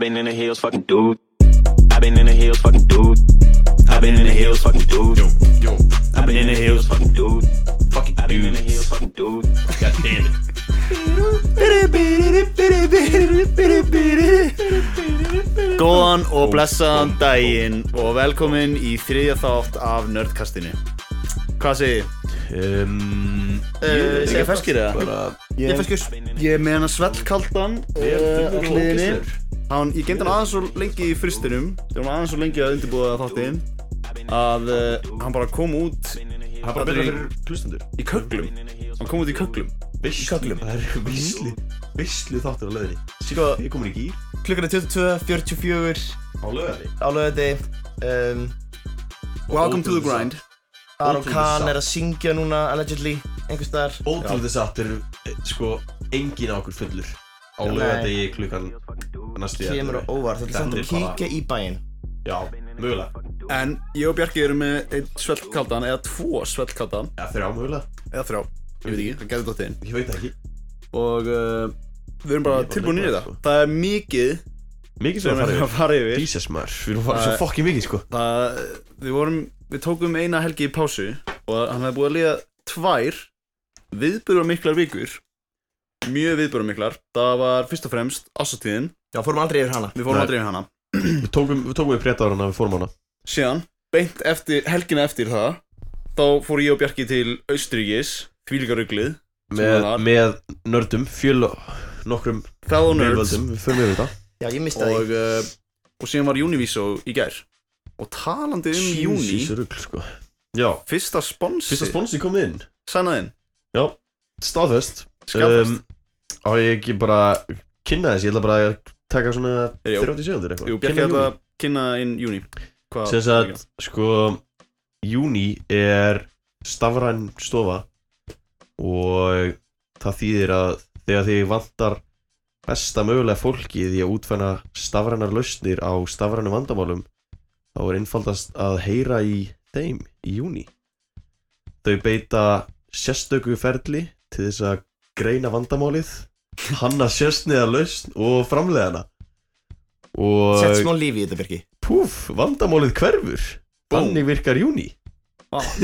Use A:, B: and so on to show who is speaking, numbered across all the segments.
A: been in the hills, fucking dude. I've been in the hills, fucking dude. I've been in the hills, fucking dude.
B: Yo, yo,
A: I've been in the hills, fucking dude.
B: fucking
A: I've been in the
B: dudes.
A: hills, fucking dude.
B: God damn it.
C: Góðan og blessaðan daginn og velkomin í þriðja þátt af Nerdkastinu Hvað segir ég?
B: Um,
C: Uh, segja ferskir eða? Ég er ferskur Ég er með hana svellkaldan uh, á hliðinni Hann, ég gemd hann aðeins svo lengi í fristinum Þegar hann var aðeins svo lengi að undirbúða þáttinn Að uh, hann bara kom út
B: Það er bara betra fyrir hlustendur.
C: í köglum Hann kom út í köglum
B: Veislu. Það er veislu. Veislu þáttur á löðinni.
D: Sko,
B: Ég komin í gýr.
D: klukkan er 22.44
B: Á löðinni.
D: á lögadegi um,
C: Welcome to the grind
D: Aron
B: Ótrúlega
D: Kahn
B: sátt.
D: er að syngja núna, allegedly, einhvers staðar
B: Ótrúlega satt er eh, sko engin á okkur fullur. Á
D: Nei.
B: löðinni klukkan næstu.
D: Kemur á óvart, þetta er samt að kíkja í bæinn
B: Já, mögulega.
C: En ég og Bjarki erum með einn svellkaldan eða tvo svellkaldan
B: Já, þrjá mögulega.
C: eða þrjá, ég veit ekki, hann gæti dóttinn
B: Ég veit það ekki.
C: og uh, við erum bara
B: Ég var
C: tilbúin í
B: líka,
C: þetta
B: sko.
C: það er mikið
B: Mikið
C: sem
B: sem
C: við
B: að
C: erum
B: fara
C: að fara yfir
B: Jesus maður, við erum að fara svo fokkin mikið sko
C: það, við, vorum, við tókum eina helgi í pásu og hann hefði búið að liða tvær viðbyrður miklar vikur mjög viðbyrður miklar það var fyrst og fremst ásatíðin
D: Já, fórum aldrei yfir hana
C: við
B: Nei.
C: fórum að dreifja hana
B: Við tókum, við tókum við prétta á hana, við fórum á hana
C: síðan, beint eftir, helgina eftir það þá fór ég og Bjarki til Austuríkis, þvílgaruglið
B: Með,
C: var.
B: með nördum, fjöl nokkrum
C: fellow nerds
B: nördum Við förum við þetta
D: Já, ég mista því
C: og, uh, og síðan var Univiso í gær og talandi um Juni
B: Jesus rugl sko Já,
C: Fyrsta sponsi
B: fyrsta sponsi kom inn
C: Sannaðinn
B: Já, staðfest
C: Skapfest
B: Um, Á ég ekki bara kynna þess, ég ætla bara að taka svona
C: Jú.
B: 30 sekundir eitthvað
C: Jú, Bjarki þetta kynna inn júni
B: Sko. Sem sagt, sko Júni er stafræn stofa og það þýðir að þegar þið vantar besta mögulega fólkið í að útfæna stafrænar lausnir á stafrænu vandamálum þá er einfaldast að heyra í þeim í júni Þau beita sérstöku ferli til þess að greina vandamálið hanna sérsniða lausn og framleiðana og
D: Sett smá lífi í þetta, Birki
B: púf, vandamálið hverfur
C: Búm.
B: Þannig virkar júni
D: Ok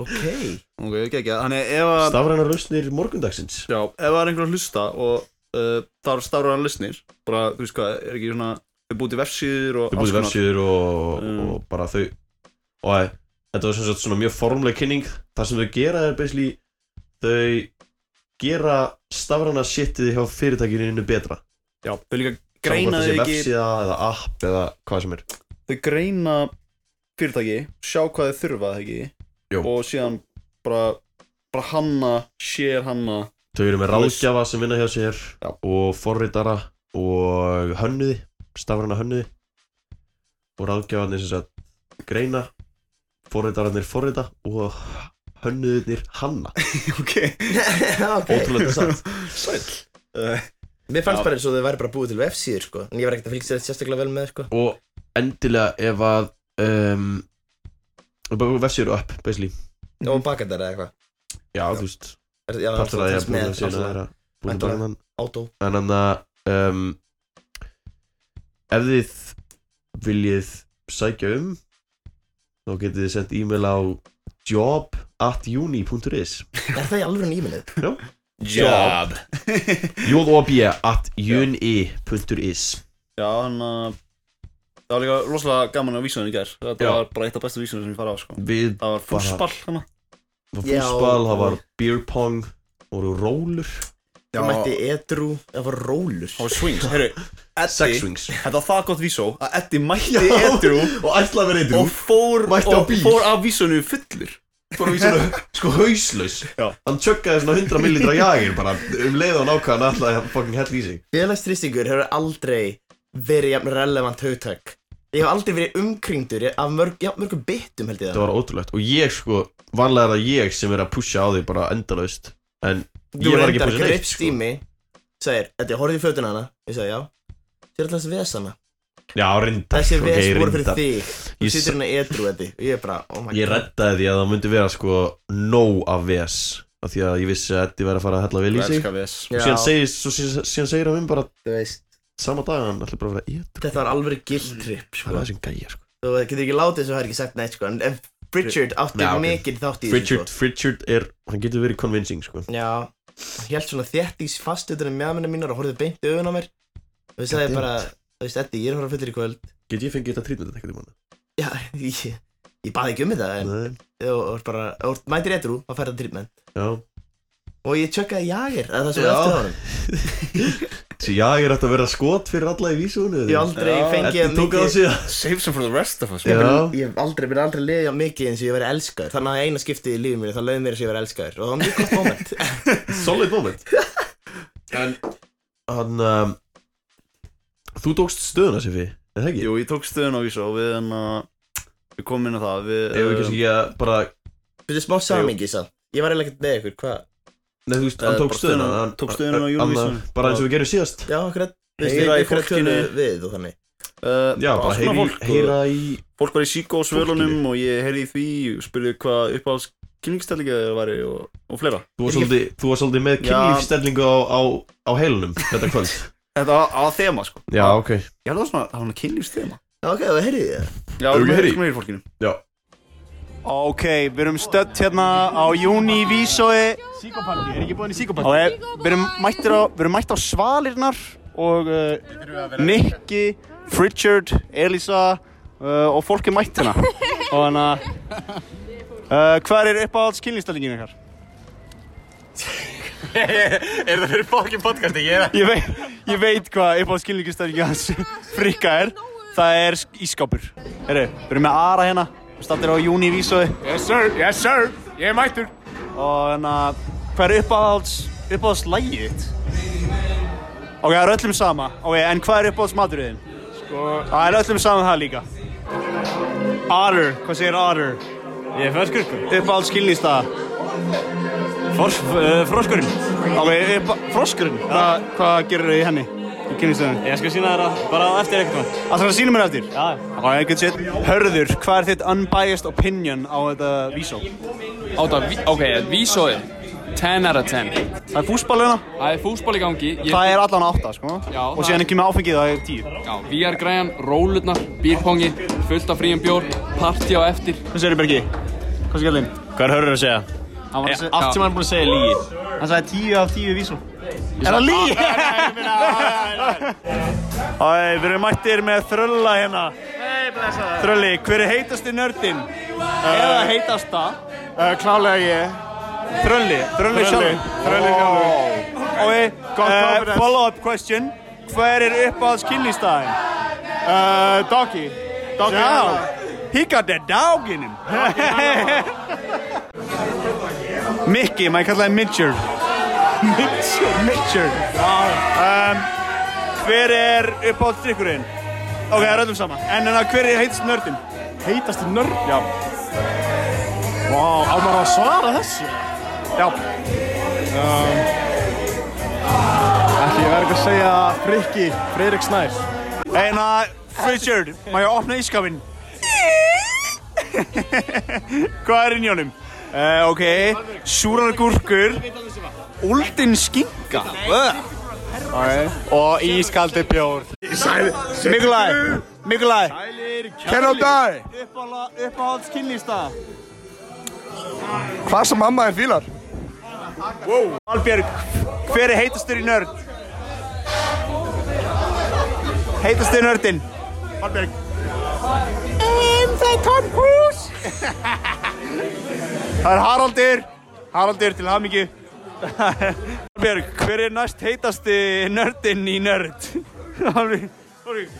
C: Ok, ekki, ekki Þannig ef að
B: Stafrænar lausnir morgundagsins
C: Já, ef það er einhver að hlusta og uh, það eru stafræðan lausnir bara, þú veist hvað, er ekki svona þau búið til vefsíður og
B: Þau búið vefsíður og,
C: Mm.
B: og bara þau Og að- þetta var sem sagt svona mjög formleg kynning Það sem þau gera er basically Þau gera stafræna shitið hjá fyrirtækinu betra
C: Já, þau líka greina þau
B: þau
C: ekki
B: Vefsíða eða app eða hvað sem er
C: Þau greina fyrirtæki sjá hvað þau þurfa það ekki
B: Jú.
C: og síðan bara bara hanna, sér hanna
B: Þau eru með
C: Þú veist-
B: ráðgjafa sem vinna hjá sér
C: Já.
B: og forritara og hönnuði, stafræna hönnuði og ráðgjafarnir sem sagt greina, forritararnir forrita og hönnuðirnir hanna.
C: Ok
D: Ok
B: Ótrúlega satt.
C: Sæll uh,
D: Mér fannst
C: Já.
D: bara eins og þau væri bara búið til vefsíður, sko En ég var ekkert að fylgja sér sérstaklega vel með, sko
B: Og endilega ef að um, vefsir upp, basically.
D: Og baka þetta eða eitthvað
B: Já, þú veist,
D: Er- Já,
B: Mhm. partur að ég er búin að segja
D: það
B: þeirra búin að
D: Væntanlega.
B: baka þann.
D: Átó
B: En þannig að um, ef þið viljið sækja um þá getið þið sendt e-mail á job.uni.is
D: Er það í alveg nýminnið?
C: Job
B: job.uni.is
C: Já, hann að Það var líka rosalega gaman á vísunum í gær Þetta
B: Já.
C: var bara eitt af bestu vísunum sem ég fara á sko
B: Við
C: Það var fúsball hann
B: var
D: Já.
B: fúsbal, það var beer pong voru rólur
D: Já Það mætti edru Það var rólur
C: Það var swings Herru,
B: sex
C: Eddi
B: swings
C: Þetta var það gott vísó að Eddi mætti
B: Já.
C: edru
B: og ætla að vera
C: og fór
B: Mætti á
C: og
B: bíl.
C: fór af vísunum fullur
B: eitthvað sko hauslaus
C: Já.
B: hann tjökkaði svona 100 millitra jagir bara um leið og nákvæðan ætlaði að fucking hell í sig
D: Félagsþrýstingur hefur aldrei verið jafn relevant haugtak Ég hef aldrei verið umkringdur af mörg, jafn mörgum byttum held ég
B: Þetta
D: það
B: var ótrúlegt og ég sko, vanlega er það ég sem er að pusha á því bara endalaust En
D: Þú
B: ég var ekki að
D: reyndar
B: pusha neitt
D: greipst í
B: sko.
D: mig Segir, þetta ég horfði í fötuna hana Ég sagði já Þér er alltaf þessi vesana
B: Já, reyndar
D: Þessi
B: ok,
D: ves voru fyrir
B: sko, reyndar.
D: þig Þú
B: Ég
D: situr hérna edru þetta Og ég er bara, oh my
B: Ég reddaði því að það myndi vera sko nóg af VS af því að ég vissi að Eddi væri að fara að hella vel í sig
C: við þess
B: og síðan
D: Já.
B: segir, svo síðan, síðan segir hann um bara
D: god Þú veist
B: sama dag hann ætla bara að vera edru
D: Þetta var alveg gildtripp
B: Það
D: sko.
B: er þessi gæja sko
D: Þú getur ekki látið þess að það er ekki sagt neitt sko. En en Richard átti
B: Já, ok.
D: mikið þátt í þessu
B: Richard, Richard er, hann getur verið convincing sko
D: sko. Já Hann held svona þétt í fast utan um meðamennar mínar og horfði beint í augun á mér Og ég sagði
B: Goddammit.
D: bara Þú veist, Eddi, ég er að fara fullir í kvöld
B: Get ég fengið þetta trítmyndan eitthvað í manna?
D: Já, ég, ég baði ekki um þetta En
B: Nei,
D: þú ert bara Þú ert mætir edru að færa treatment
B: já
D: Og ég tjökkaði jagir Það er það sem
B: Já.
D: er eftir á honum
B: Þessi jag er hægt að vera skot fyrir alla í vísunni
D: Ég hef aldrei
E: Já,
D: fengið
B: tók á síðan
E: Save some for the rest of us
B: Já.
D: Ég hef aldrei, mér hef aldrei liðið á mikið eins og ég verið elskaður Þannig að eina skiptið í lífið mér, það lögði mér eins og ég verið elskaður Og það var mjög gott moment
B: Solid moment En Hann um, Þú tókst stöðuna Sifi Er það ekki?
E: Jú, ég tók stöðun á Ísa og við hann að Við komum inn á það Við
B: Ef við kannski ekki að bara
D: Byrju smá samingi samt Ég var eiginlega ekkert með ykkur, hvað?
B: Nei þú veist,
E: Eh,
B: hann tók
E: bara
B: stöðuna
E: stöðuna-
B: hann-
E: tók stöðuna á
B: hann-
E: Eurovision.
B: hann- Bara eins og við gerum síðast
D: Já, okkur að
E: Heyra í fólkinu.
D: Við og þannig
E: uh,
B: Já, bara heyri,
E: fólk,
B: heyra í
E: og Fólk var í síkó svölunum og ég heyrði í því og spurði hvað upp á kynningstællinga þeir væri og, og fleira
B: Þú var
D: Ég-
B: svolítið, þú var svolítið með
E: Já.
B: kynlífstellingu á, á, á heilunum Þetta kvöld
E: Þetta var á þema sko
B: Já, ok
E: Ég held að það var svona, það var svona kynningstema
D: Já, ok, þú heyrið þið
E: Já,
B: Erum
E: við
B: við heyri?
E: erum hér í fólkinu
B: Já
E: Ok, við erum stött hérna á Júni Vísói
C: Síkopartí, er ekki búin í
E: og
C: síkopartí?
E: er, eh, við erum mættir á, við erum mættir á svalirnar og uh, Nicky, Richard, Elisa uh, og fólk er mætt hérna og hann að uh, hvað er uppáhalds kynlýstallingin ykkar?
C: Er það fyrir fokkin podcasti? Ég er
E: Ég veit, ég veit hvað uppáhalds kynlýstallingin hans frikka er það er ískápur Heru, við erum með Ara hérna, við stattir á Júni Vísói
C: Yes sir, yes sir, ég er mættur
E: og hann að hvað er uppáhalds, uppáhalds lægið þitt? Ok, það er öllum sama. Ok, en hvað er uppáhalds maturinn?
C: Sko,
E: Það er öllum saman það líka Otter, hvað segir Otter?
C: ég er ferskurkur
E: Uppáhald skilnýstaða
C: Fors, uh, Froskurinn
E: Ok, upp, eh, froskurinn, hvað, hvað gerir þau í henni? Í kynlýstöðunni
C: Ég skal sína þér að bara á eftir eitthvað
E: Það þarf að sína mér eftir
C: Já,
E: Ok, einhvern sétt Hörður, hvað er þitt unbiased opinion á þetta vísó?
F: Á það, vi- ok, vísóið 10 out of 10
E: Það er fúsball hérna
F: Það er fútspól í gangi ég,
E: Það er allan átta, sko
F: Já,
E: Og
F: það-
E: síðan ekki með áfengið, það er tíu
F: Já, VR græjan, rólurnar, bírpongi, fullt af fríum bjór, partí á eftir
E: Hvað segir Bergi? Hvað segir þinn?
C: hvað er hörður að segja?
E: Hann var að segja
C: Allt sem hann er búin að segja er lígi
E: Hann sagði tíu af tíu vísó Er það lígi? Æ, við erum mættir með þrölla hérna Þrölli, hver er heitasti nördin? Eða heitasta?
C: Klálega ég
E: eh, Þrölli, þrölli sjálf
C: Þrölli sjálfur
E: Ok,
C: Gott
E: uh,
C: confidence.
E: follow up question Hver er uppáhalds kynlýstæðin?
C: Uh, Doggy Doggy
E: he got the dog in him Mickey, maður kallaði Mitchell Mitchell? Mitchell um, Hver er uppáhalds drikkurinn? Ok, það er öllum sama En en að hver er heitast nördin?
C: Heitast í nörd
E: Já,
C: Vá, á maður að svara þessu?
E: já
C: Ætli, ég verður ekki að segja Frikki, Freirik Snær
E: En að, Richard, má ég opna ískapin? Hvað er inn í honum? Uh, ok, súrar gúrkur, úldin skinka
C: Ok Og ískaldi bjór
E: Mikulaj, Mikulaj,
G: Hello die!
E: uppáhalds kynlýsta
G: Hvað sem mamma þín fílar?
E: Albjörg, hver er heitastur í nörd? Heitastur í nördin Albjörg En það er Tom Cruise Það er Haraldur Haraldur til hamingju Albjörg, hver er næst heitasti nördin í nörd? Albjörg Albjörg.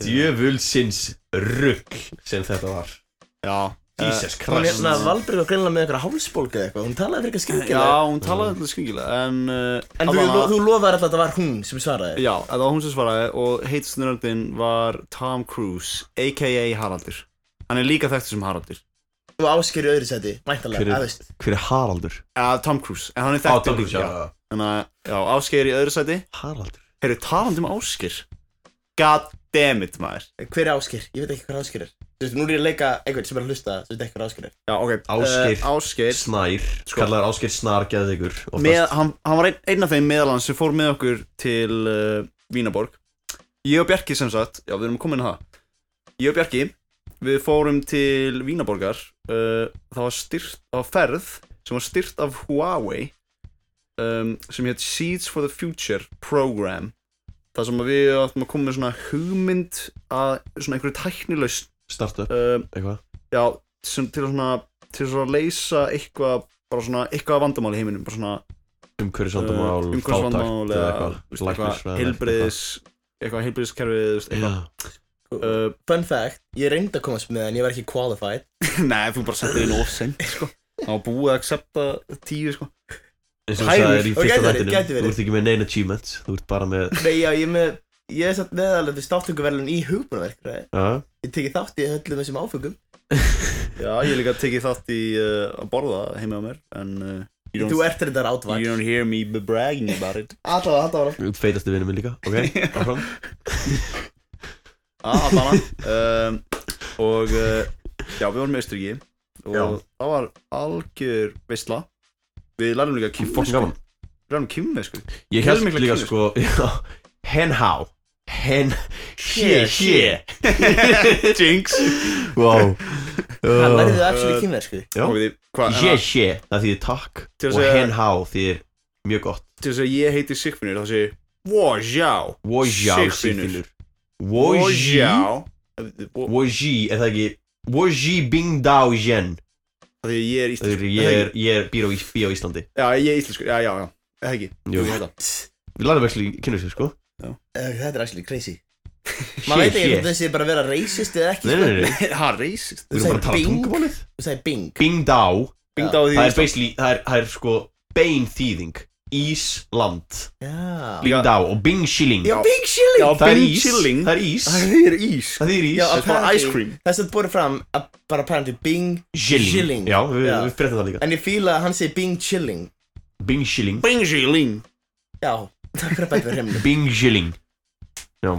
B: Djöfulsins rugg sem þetta var
E: Já Eh,
B: Jesus
D: Hún
B: Christ
D: hérna, Valbjörg var greinilega með einhverja hálsbólgu eða eitthvað Hún talaði fyrir eitthvað skringilega
E: Já, hún talaði eitthvað skringilega En, uh,
D: En þú,
E: allavega-
D: lo, þú lofaði alltaf að það var hún sem svaraði
E: Já, það var hún sem svaraði og heitsnuröndin var Tom Cruise, a.k.a. Haraldur. Hann er líka þekktur sem Haraldur.
D: Þú ásker í öðru seti,
B: Hver
D: mæntalega,
B: er-
D: að veist
B: Hver er Haraldur?
E: Ja, Tom Cruise, en hann er
B: Á,
E: þekktur.
B: Tom Cruise,
E: já.
B: já
E: Þannig að, já, Ásgeir í öðru sæti.
B: Haraldur
E: Heyrðu, talandi um Ásgeir. God damn it, maður.
D: Hver er ásker? Ég veit ekki hver ásker er Þú veist, nú er ég að leika einhvern sem er að hlusta, þú veist, eitthvað áskrif.
C: Já, ok.
B: Ásgeir.
C: Uh, Ásgeir.
B: Snær, kallar Ásgeir Snar geðveikur
C: Með, hann, hann var ein, einn af þeim meðalans sem fór með okkur til uh, Vínaborg. Ég og Bjarki sem sagt, já við erum komin að það. Ég og Bjarki, við fórum til Vínaborgar. Uh, það var styrt á ferð sem var styrt af Huawei um, sem hétt Seeds for the Future Program. Það sem að við áttum að koma með svona hugmynd að svona einhverju tæknilaust
B: Startup,
C: um,
B: eitthvað
C: já, sem til að svona til svona að leysa eitthvað bara svona eitthvað vandamál í heiminum bara svona
B: Umhverfisvandamál,
C: uh,
B: fátækt
C: umhverfisvandamál
B: eða
C: eða
B: eitthvað,
C: veist, eitthvað
B: læknisfræði,
C: heilbriðis eitthvað heilbriðiskerfið þú veist,
B: eitthvað.
C: eitthvað
B: Já.
C: uh,
D: Fun fact, ég reyndi að komast með en ég var ekki qualified.
C: nei, þú bara settir inn of sent sko Það var búið að accepta tíu sko
B: eins og það er í
D: Og
B: fyrsta
D: gæti verið,
B: þættinum
D: gæti verið.
B: Þú ert ekki með neina achievements Þú ert bara með
D: Nei, já, ég er með, ég er satt meðalandi státtökuverlun í hugbúnaverkfræði.
B: Já,
D: Ég teki þátt í öllum þessum áfengum.
C: Já, ég hef líka tekið þátt í uh, að borða heima á mér En uh, you,
D: Þú
C: don't,
D: ert reyndar
C: you
D: átvart.
C: don't hear me be bragging about it
D: Alltaf, alltaf,
B: þú ert feitasti vinnum minn líka Ok, áfram
C: Ah, allan um, Og uh, já, við vorum með Austuríki Og það var algjör veistla Við lærum líka
B: Fokkin
C: kynvesku
B: gaman
C: Við lærum kynvesku
B: Ég held
C: Heilmikla
B: líka
C: kynlíf.
B: sko já, Henhá Hen Hé, hé
C: Jinx
B: Wow
D: Hann
B: Uh,
D: lærði það actually kynversku.
B: Já.
C: Og við- Hvað,
B: Hé,
C: en að-
B: hé Það þýðir takk
C: Til að
B: Og
C: segja-
B: henhá þýðir mjög gott
C: Til þess að ég heiti Sigfinnur þá sé ég Wojá
B: Wojá
C: Sigfinnur.
B: Sigfinnur Wojá
C: Wo-
B: Wojí Er það ekki Wojí Bing Dao Jen
C: Af Því að ég er
B: Það
C: íslenskur
B: er ég er, ég er býr á, Ís- bý á Íslandi
C: Já, ég er íslenskur, já, já, já Það ekki
B: Jú.
C: ég held að.
B: Við lærðum ekki kynlíf sko
D: Uh, Þetta er actually crazy.
B: Hé,
D: Maður veit ekki
B: hé.
D: hvort þessi er bara að vera racist eða ekki.
B: Nei, nei, nei
C: Ha, reisist
B: Við erum bara að tala um
D: Bing.
B: tungumálið
D: Þú sagði bing.
B: Bing Dao
C: Bingd á því
B: Það er basically, það er, það er sko bein þýðing Ísland
D: Já.
B: Bing
C: Líka-
B: Dao og Bing Shilling
D: Já, bing shilling.
C: Já,
B: Það er
C: Bing
B: ís,
C: Chilling
B: það er ís
C: Það er ís
B: Það er ís
C: Það er
D: Já,
C: bara
D: apparently-
C: ice cream.
D: Það er satt borðið fram að bara apparently bing
B: Shilling.
D: Shilling.
B: Já, við,
D: Já.
B: við fréttum það líka
D: En ég fíla að hann segi bing chilling
B: Bing Shilling
C: Bing Chilling
D: Já, það fyrir að bæta við hreimnum
B: Bing Shilling Já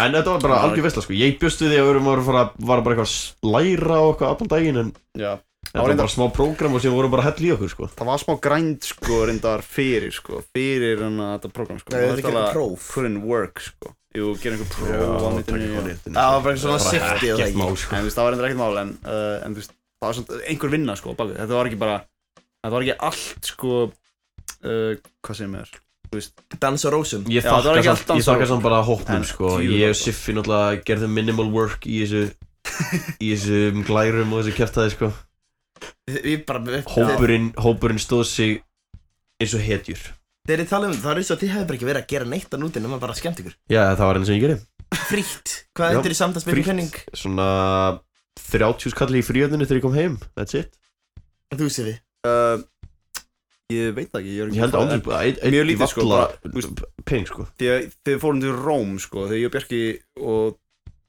B: En þetta var bara
C: Já,
B: algjör vesla sko Ég bjóst við því að við vorum að fara Var bara eitthvað að læra og eitthvað allan daginn En
C: Já
B: þetta var
C: reyndar-
B: bara smá prógram og síðan vorum bara að hella í okkur sko
C: það var smá grænt sko reyndar fyrir sko fyrir hann að þetta program sko
D: Nei, þetta er ekki eitthvað próf.
C: couldn't work sko jú, gera einhver próf á netinu já.
D: Það var bara svona sifti og það
B: Ekkert
D: ekki
B: mál sko
C: en þú veist það var reyndar ekkert mál en, uh, en þú veist það var svona einhver vinna sko bakið þetta var ekki bara þetta var ekki allt sko uh, hvað segir maður
D: Dans á rósum
B: Ég
C: Já, það var
B: þakka
C: ekki allt
B: samt, ég
C: dans og-
B: þakka samt bara hópnum
C: En,
B: sko
C: djú,
B: Ég
C: það
B: og
C: var-
B: Siffi náttúrulega gerðu minimal work í þessu Í þessum glærum og þessu kjæftæði sko
D: Við bara Þeir
B: Hópurinn, hópurinn stóð sig eins og hetjur
D: þeir eru talað um það er eins og þið hefur bara ekki verið að gera neitt að núti nema bara skemmt ykkur
B: Já, það var eins og ég gerði
D: Frítt Hvað
B: Já,
D: þetta er í samtalsbyrjum
B: frítt.
D: penning?
B: Svona 30 skalli í fríöðinu þegar ég kom heim That's it
D: Þú sé við
C: uh, ég veit það ekki ég, er ekki-
B: Ég held aldrei bara ein- ein-
C: Mjög lítið, sko,
B: valla
C: bara, þú veist-
B: Peng sko
C: því að þegar við fórum til Róm sko, þegar ég og Bjarki og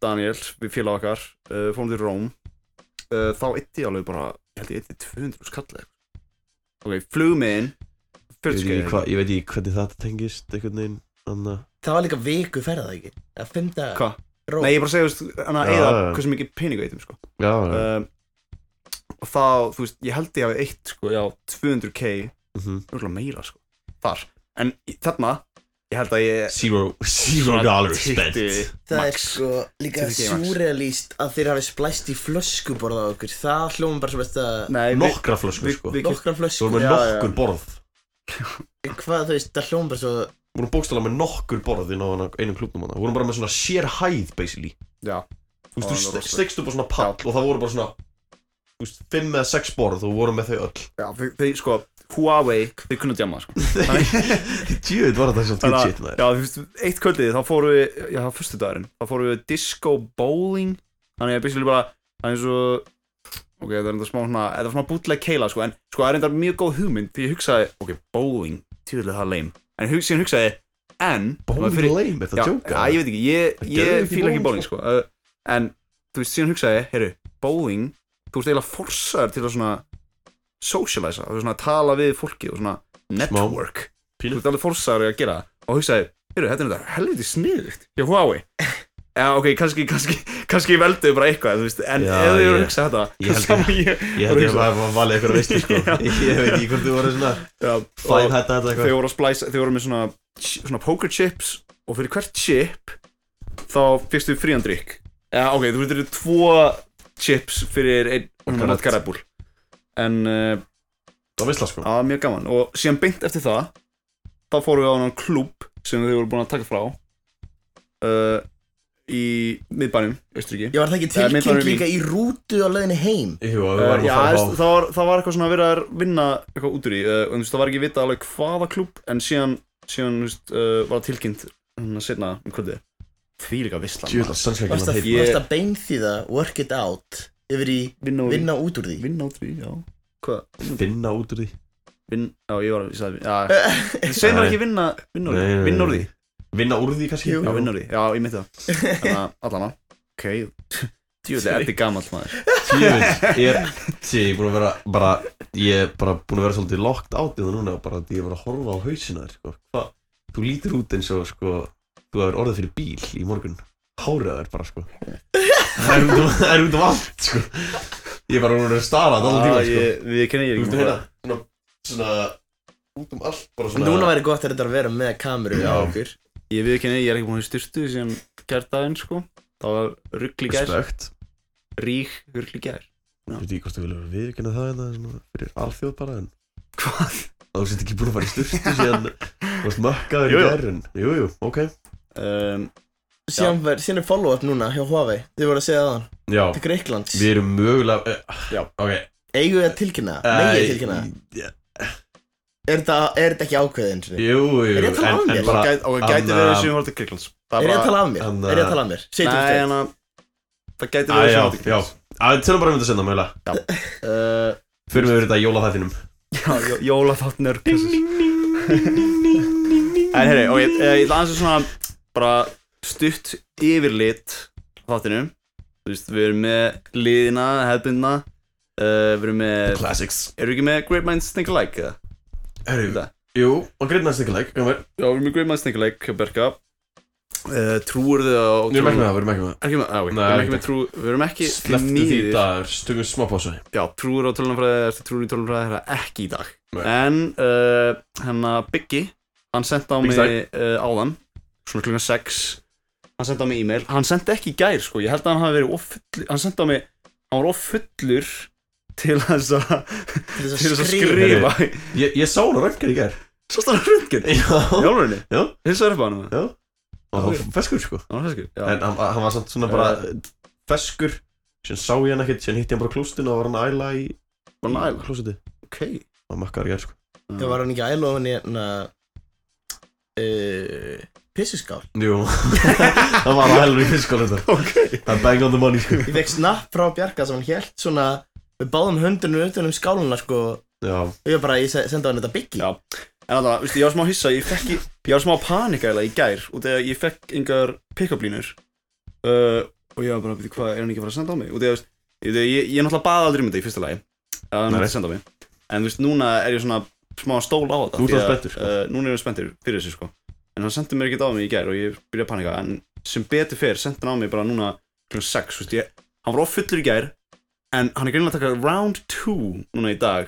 C: Daniel, við félag okkar uh, fórum til Róm uh, þá ytti ég alveg bara, ég held ég ytti 200 skall eða eitthvað. ok, flugmiðin
B: Ég veit ekki
C: 40
B: hvað- ég veit ekki hvernig þetta tengist einhvern veginn Anna
D: Það var líka viku ferðað ekki Að fimm daga
C: Hva?
D: Ró
C: nei, ég bara segja, þú veist, hann að
B: Já,
C: eða
B: já, já.
C: hversu mikið peningu eittum sko.
B: Já, já
C: um, og þá, þú veist, ég held ég hafi eitt sko, já, 200k
B: mhm.
C: örgulega meira, sko, þar en í- þarna, ég held að ég
B: Zero, zero
C: Svona
B: dollars
C: 20.
B: spent
D: Það er
C: Max.
D: sko líka
C: 20K max.
D: surrealist að þeir hafi splæst í flöskuborð á okkur Það hljóma bara sem besta
C: nei, við,
B: Nokkra flöskur
C: við-
B: sko
C: við-
D: Nokkra
B: Svo
D: flöskur
B: erum við
C: Já, já.
B: nokkur borð
D: Hvað þú veist, það hljóma bara svo
B: Við vorum bókstala með nokkur borð inn á hana- einum klubnum hana Við vorum bara með svona sér hæð basically
C: já,
B: Þú
C: Það var
B: veist, þú
C: rosalegt.
B: stegst upp á svona pall og það voru bara svona Þú veist, fimm eða sex borð og við vorum með þau öll
C: já, við, við, sko Huawei, þau kunnu djama, sko
B: Tjöðið var þetta svona
C: Þannig
B: legit
C: að,
B: maður
C: já, þú veist, eitt kvöldið, þá fórum við, já, það var fyrstu dagurinn, þá fórum við disco bowling, þannig að basically bara, það er eins og, ok, það er enda smá svona, þetta var svona bútleg keila, sko, en sko, það er enda mjög góð hugmynd, því ég hugsaði, ok, bowling, týðilega það er lame, en hug, síðan hugsaði, ég, en,
B: Bóðið fyrir leim, þetta
C: já,
B: tjóka
C: já, ég veit ekki, ég,
B: Það gerðu
C: ég
B: ekki
C: fíla ekki
B: bowling,
C: bowling, sko, uh, en, þú veist, síðan hugsaði, ég, heyrðu, bowling, þú ert eiginlega forsaður til að svona socializa, þú veist, svona tala við fólki og svona network
B: Pínu.
C: þú ert alveg fórsari að gera það og hugsaði, heyrðu, þetta er þetta helviti sniðugt hjá Huawei eða ok, kannski, kannski, kannski velduðu bara eitthvað þú veist, en
B: Já,
C: ef þið eru að
B: ég-
C: hugsa þetta
B: ég held
C: þá var ég
B: Ég held ég að það valið eitthvað veist sko. Ég veit ekki hvort þú voru svona
C: Já,
B: Five
C: og
B: hætta þetta
C: þau
B: eitthvað
C: voru að splæsa, þau voru með svona, svona poker chips og fyrir hvert chip þá fyrstu frían drikk Já, ok, þú veitir tvo chips fyrir einn
B: karat.
C: hundra karabúl En uh,
B: Það veist það sko
C: það var mjög gaman Og síðan beint eftir það Þá fórum við á hann klúb sem þau voru búin að taka frá uh, Í miðbænum, Austuríki
D: Ég var það ekki
C: Eða, mynd var í
D: tilkynnt
C: mín.
D: líka í rútu á leiðinni heim
B: Jú, við
C: Uh,
B: varum
C: já,
B: að fara
C: veist,
B: á
C: það, var, það var eitthvað svona að vera að vinna eitthvað út úr í uh, og þú veist, það var ekki vitað alveg hvaða klúb en síðan, síðan þú veist, uh, var það tilkynnt hérna setna um kvöldi því líka visslan
B: Tjúla, sannsveikir
D: Varst
B: hann
D: að
B: heitt
C: Ég-
D: varst að beinþýða work it out yfir í
C: vinna, úr-
D: vinna út úr því
C: vinna út úr í, já hvað?
B: Finna út úr því
C: Vinn, já, ég var að ég sagði, já, þú segir maður ekki vinna vinna úr
B: Nei,
C: því,
B: nei,
C: vinna úr
B: nei.
C: því
B: Vinna úr því kannski
D: Jú.
C: já, vinna úr því, já, ég myndi það þannig að allana, ok djúlega, þetta er gamall maður
B: Tjúvill, ég er Tjú, ég er búin að vera bara Ég er bara búin að vera svolítið locked out í það núna og bara ég er bara að horfa á hausina þér sko. Hva? Þú lítur út eins og sko Þú hefur orðið fyrir bíl í morgun Hárið þér bara sko Það er út um- það er út um allt sko Ég er bara búin að vera starað alltaf tíma
C: Já,
B: sko
C: Ah, ég- við kenni ég
B: Þú
C: ekki
B: veist að heyra svona, svona út um allt bara svona
D: Núna væri gott að þetta að vera með kameru á okkur
C: ég við kenni, ég er ekki búin að styrtu síðan kjartaðin, sko það var ruggli gær
B: Respekt
C: rík ruggli gær
B: Ég veit ekki hvort þú vilja viðkynna það en það svona fyrir alþjóð bara en
C: Hvað?
B: Þú sért ekki búin að fara í styrtu síðan Þú varst mökkaður í
C: Jú, jú.
B: gerðin Jú, jú, ok
C: um,
D: Síðan var- síðan er follow-up núna hjá Huawei Þið voru að segja það
B: Já,
D: til Greiklands
B: við erum mögulega eh, Já, ok
D: Eigum við að tilkynna? Nei, ég tilkynna
B: yeah.
D: Er þetta er þetta ekki ákveðið eins og því?
B: Jú, jú
D: Er ég að tala
B: en-
D: af
B: en
D: mér?
B: bara-
C: Gæt, ok, gæti
B: Anna-
C: verið sem við vorum til Kriklands
D: Er ég að tala af mér?
B: hann,
D: Er ég
B: uh,
D: að tala af mér? Seitum
C: Nei,
D: straight
C: en að Það gæti
B: Æ,
C: verið sem
B: já,
C: við vorum til
B: já
C: Kriklands
B: Æ, Tölum bara um þetta senna mögulega
C: Uh,
B: Fyrir við yfir þetta í jólaþættinum
C: Já, jó- jólaþátt nörg En herri, ok, eh, ég ætla aðeins að svona bara stutt yfirlit á þáttinum Þú veist, við erum með liðina, hefðbundna uh, Við erum með,
B: Classics
C: erum við ekki með Great Minds Think Alike eða?
B: Herru,
C: Þetta.
B: jú, og greit næst ekki leik Við erum
C: Já, við erum með Great Minds Think Alike, hjá Berka uh, Trúur þið á
B: ekki með það, við erum ekki með það
C: Ekki með, á, við
B: Nei,
C: erum ekki
B: ekki.
C: með trú, við erum ekki
B: Sleftu því
C: nýðir.
B: dagar, stöngum smá pásu
C: já, trúir á tölunafræði eftir trúir í tölunafræði það er ekki í dag
B: Nei.
C: en uh, hennar Biggi hann sendi á
B: Biggi
C: mig
B: Stein.
C: uh, áðan svona klukkan 6 hann sendi á mig e-mail hann sendi ekki í gær sko ég held að hann hafi verið ofullu hann sendi á mig hann var offullur til þess að
D: Til
C: til
D: þess
C: þess
D: að
C: að
D: skrifa
C: skrifa
B: Ég, ég sá hana röntgen í gær
C: svo stannar röntgen
B: Já
C: Jólurinn
B: Já.
C: Hilsaður upp á hann
B: Já. Og hann var feskur sko
C: Hann var feskur
B: En hann, hann var samt svona bara feskur Sen sá ég hann ekkert, sen hitti hann bara klústinn og var hann að æla í
C: Var hann æla
B: klústinu
C: Ok
B: Það var makkar í gær sko
D: Það var hann ekki ælóðan í hérna uh, Pissuskál
B: Jú Það var að æla í fiskóla þetta
C: Ok
B: Það bang on the money sko
D: Ég fekk snapp frá Bjarka sem hann hélt svona Við báðum höndunum utan um skáluna sko Og
B: Já
D: ég bara, ég se- sendi á hann þetta byggi
C: Já. En alltaf, veistu, ég var smá hissa, ég fekk í, ég var smá panika eða í gær og þegar ég fekk engar pick-up línur uh, og ég var bara, veitu hvað, er hann ekki að fara að senda á mig? Og þegar, ég, ég, ég, ég náttúrulega baða aldrei um þetta í fyrsta lagi að hann
B: Nei.
C: myndi senda á mig en þú veist, núna er ég svona smá að stóla á þetta
B: Þú ert
C: því að,
B: orðinn spenntur, sko.
C: uh, Núna er ég spenntur fyrir þessu sko en hann sendi mér ekki á mig í gær og ég byrjaði að panika en sem betur fer sendi hann á mig bara núna kl. 6, þú veist, ég, hann var offullur í gær en hann er greinlega að taka round 2 núna í dag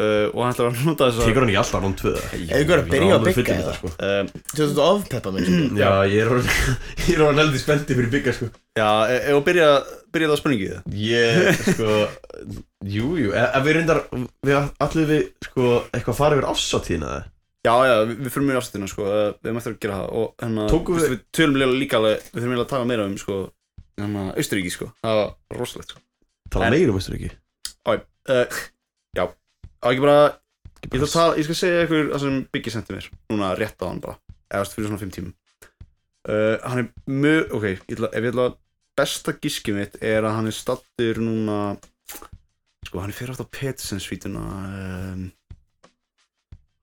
C: uh, og hann ætlar að nota þess að
B: Tekur hann ekki alltaf rond tvöða
D: Ef ykkur er að byrja að bygga
B: þetta
D: það
B: sko
C: Um,
D: Þú veist að ofpeppa mér sko.
B: Já, ég er orðinn Ég er orðin heldur spendi fyrir bygga sko
C: já, e- ef þú byrja, byrja það á spurningu í það
B: Ég, sko Jú, jú, en en við reyndar Við allir við, sko, eitthvað farið yfir hérna, ásáttíðina það
C: Já, já, við, við fyrir mjög afsettina, sko, eh, við erum eftir að gera það og hérna,
B: Tókum
C: við,
B: við-
C: við tölum líka líka alveg, við þurfum eiginlega að tala meira um, sko, hérna, Austuríki, sko, það var rosalegt, sko.
B: Tala
C: En-
B: meira um Östuríki
C: Uh, já, á ekki bara, ég ætla að tala, ég skal segja ykkur það sem Biggi sendi mér, núna rétt á hann bara, eða þú veist, fyrir svona fimm tímum. Uh, hann er mjög, ok, ég ætla, ef ég ætla að besta gískið mitt er að hann er stattur núna, sko, hann er fyrir aftur á Petersen-svítuna, um,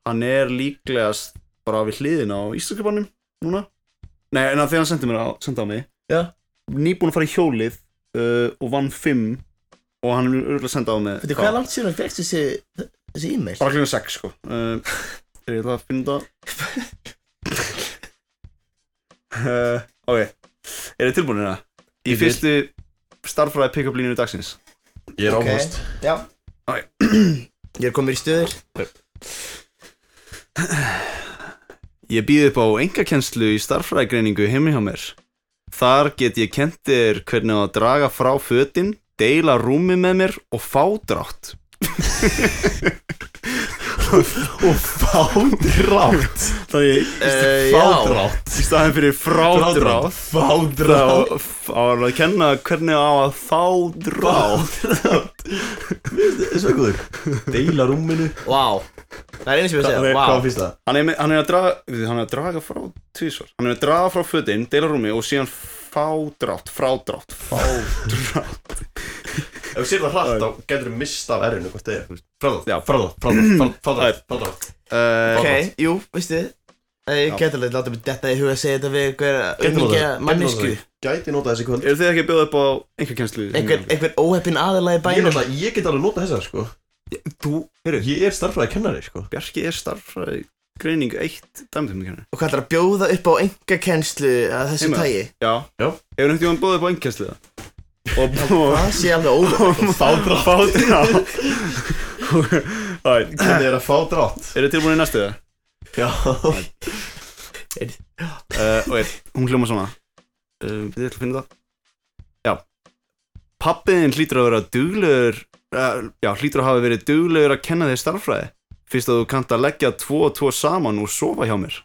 C: hann er líklegast bara við hliðin á Íslandskjöpanum núna Nei, en að þegar hann sendi mér á, sendi á mig
D: Já.
C: Nýbúin að fara í hjólið uh, og vann 5 og hann er örgulega að senda á mig
D: Veitu hvað er langt síðan hann fekst þessi þessi e-mail?
C: Bara klíma 6 sko uh, Er ég það að finna það? uh, Eh, ok Er þið tilbúinir það? Í
B: Ég vil.
C: fyrstu starffræði pick-up línu dagsins
B: Ég er
D: Ok.
B: áfast
D: Já Ég er komin í stuður
C: Ég býð upp á engakennslu í starffræðigreiningu heimi hjá mér Þar get ég kent þér hvernig á að draga frá fötin deila rúmi með mér og fádrátt
B: Og fádrátt
C: Þannig
D: Eh, já.
B: Fádrátt
C: í staðin fyrir frádrátt
B: Fádrátt
C: þá þá er að kenna hvernig á að fádrátt
B: Fádrátt Svegður Deila rúminu
D: Vá Það er einu sem ég vil
B: Hvað
D: segja
B: hvað
D: Vá
B: finnst það?
C: hann er, með- hann er að draga við, hann er að draga frá tvísvar hann er að draga frá fötin, deila rúmi og síðan fádrátt, frádrátt
B: Ef við sér það hratt þá getur við mista af erinu hvort það er
C: Já.
B: Fádrátt Fádrátt Fádrátt Fádrátt Fádrátt
C: uh,
D: Ok, jú, veistu Eh, Ég get alveg láta mig detta í huga að segja þetta við einhver unningja mannesku
B: Gæti nota þessi kvöld
C: eru þið ekki að bjóða upp á engakennslu
D: einhver, einhver óheppin aðalagi
B: Ég,
D: bænum
B: náttúrulega- ég get alveg nota þessar sko
C: þú, heyrðu,
B: Ég er starfræði kennari sko
C: Bjarki er starffræði greining 1 dæmitömmukenni
D: og hvað ætlar að bjóða upp á enga kennslu að þessu
C: Heima.
D: tægi
C: Já,
B: Já.
C: Hefur einhvern tímann bóðið upp á engakennslu það? Og
D: það sé alveg ólega
B: Fádrátt
C: Fádrátt
B: Hvernig er að fádrátt?
C: Eru þið tilbúin í næstu það?
B: Já
C: Uh, og er, hún hljóma svona uh, Við ætlum að finna það Já Pappiðin hlýtur að vera duglegur uh, Já, hlýtur að hafa verið duglegur að kenna þér starffræði Fyrst að þú kannt að leggja tvo og tvo saman og sofa hjá mér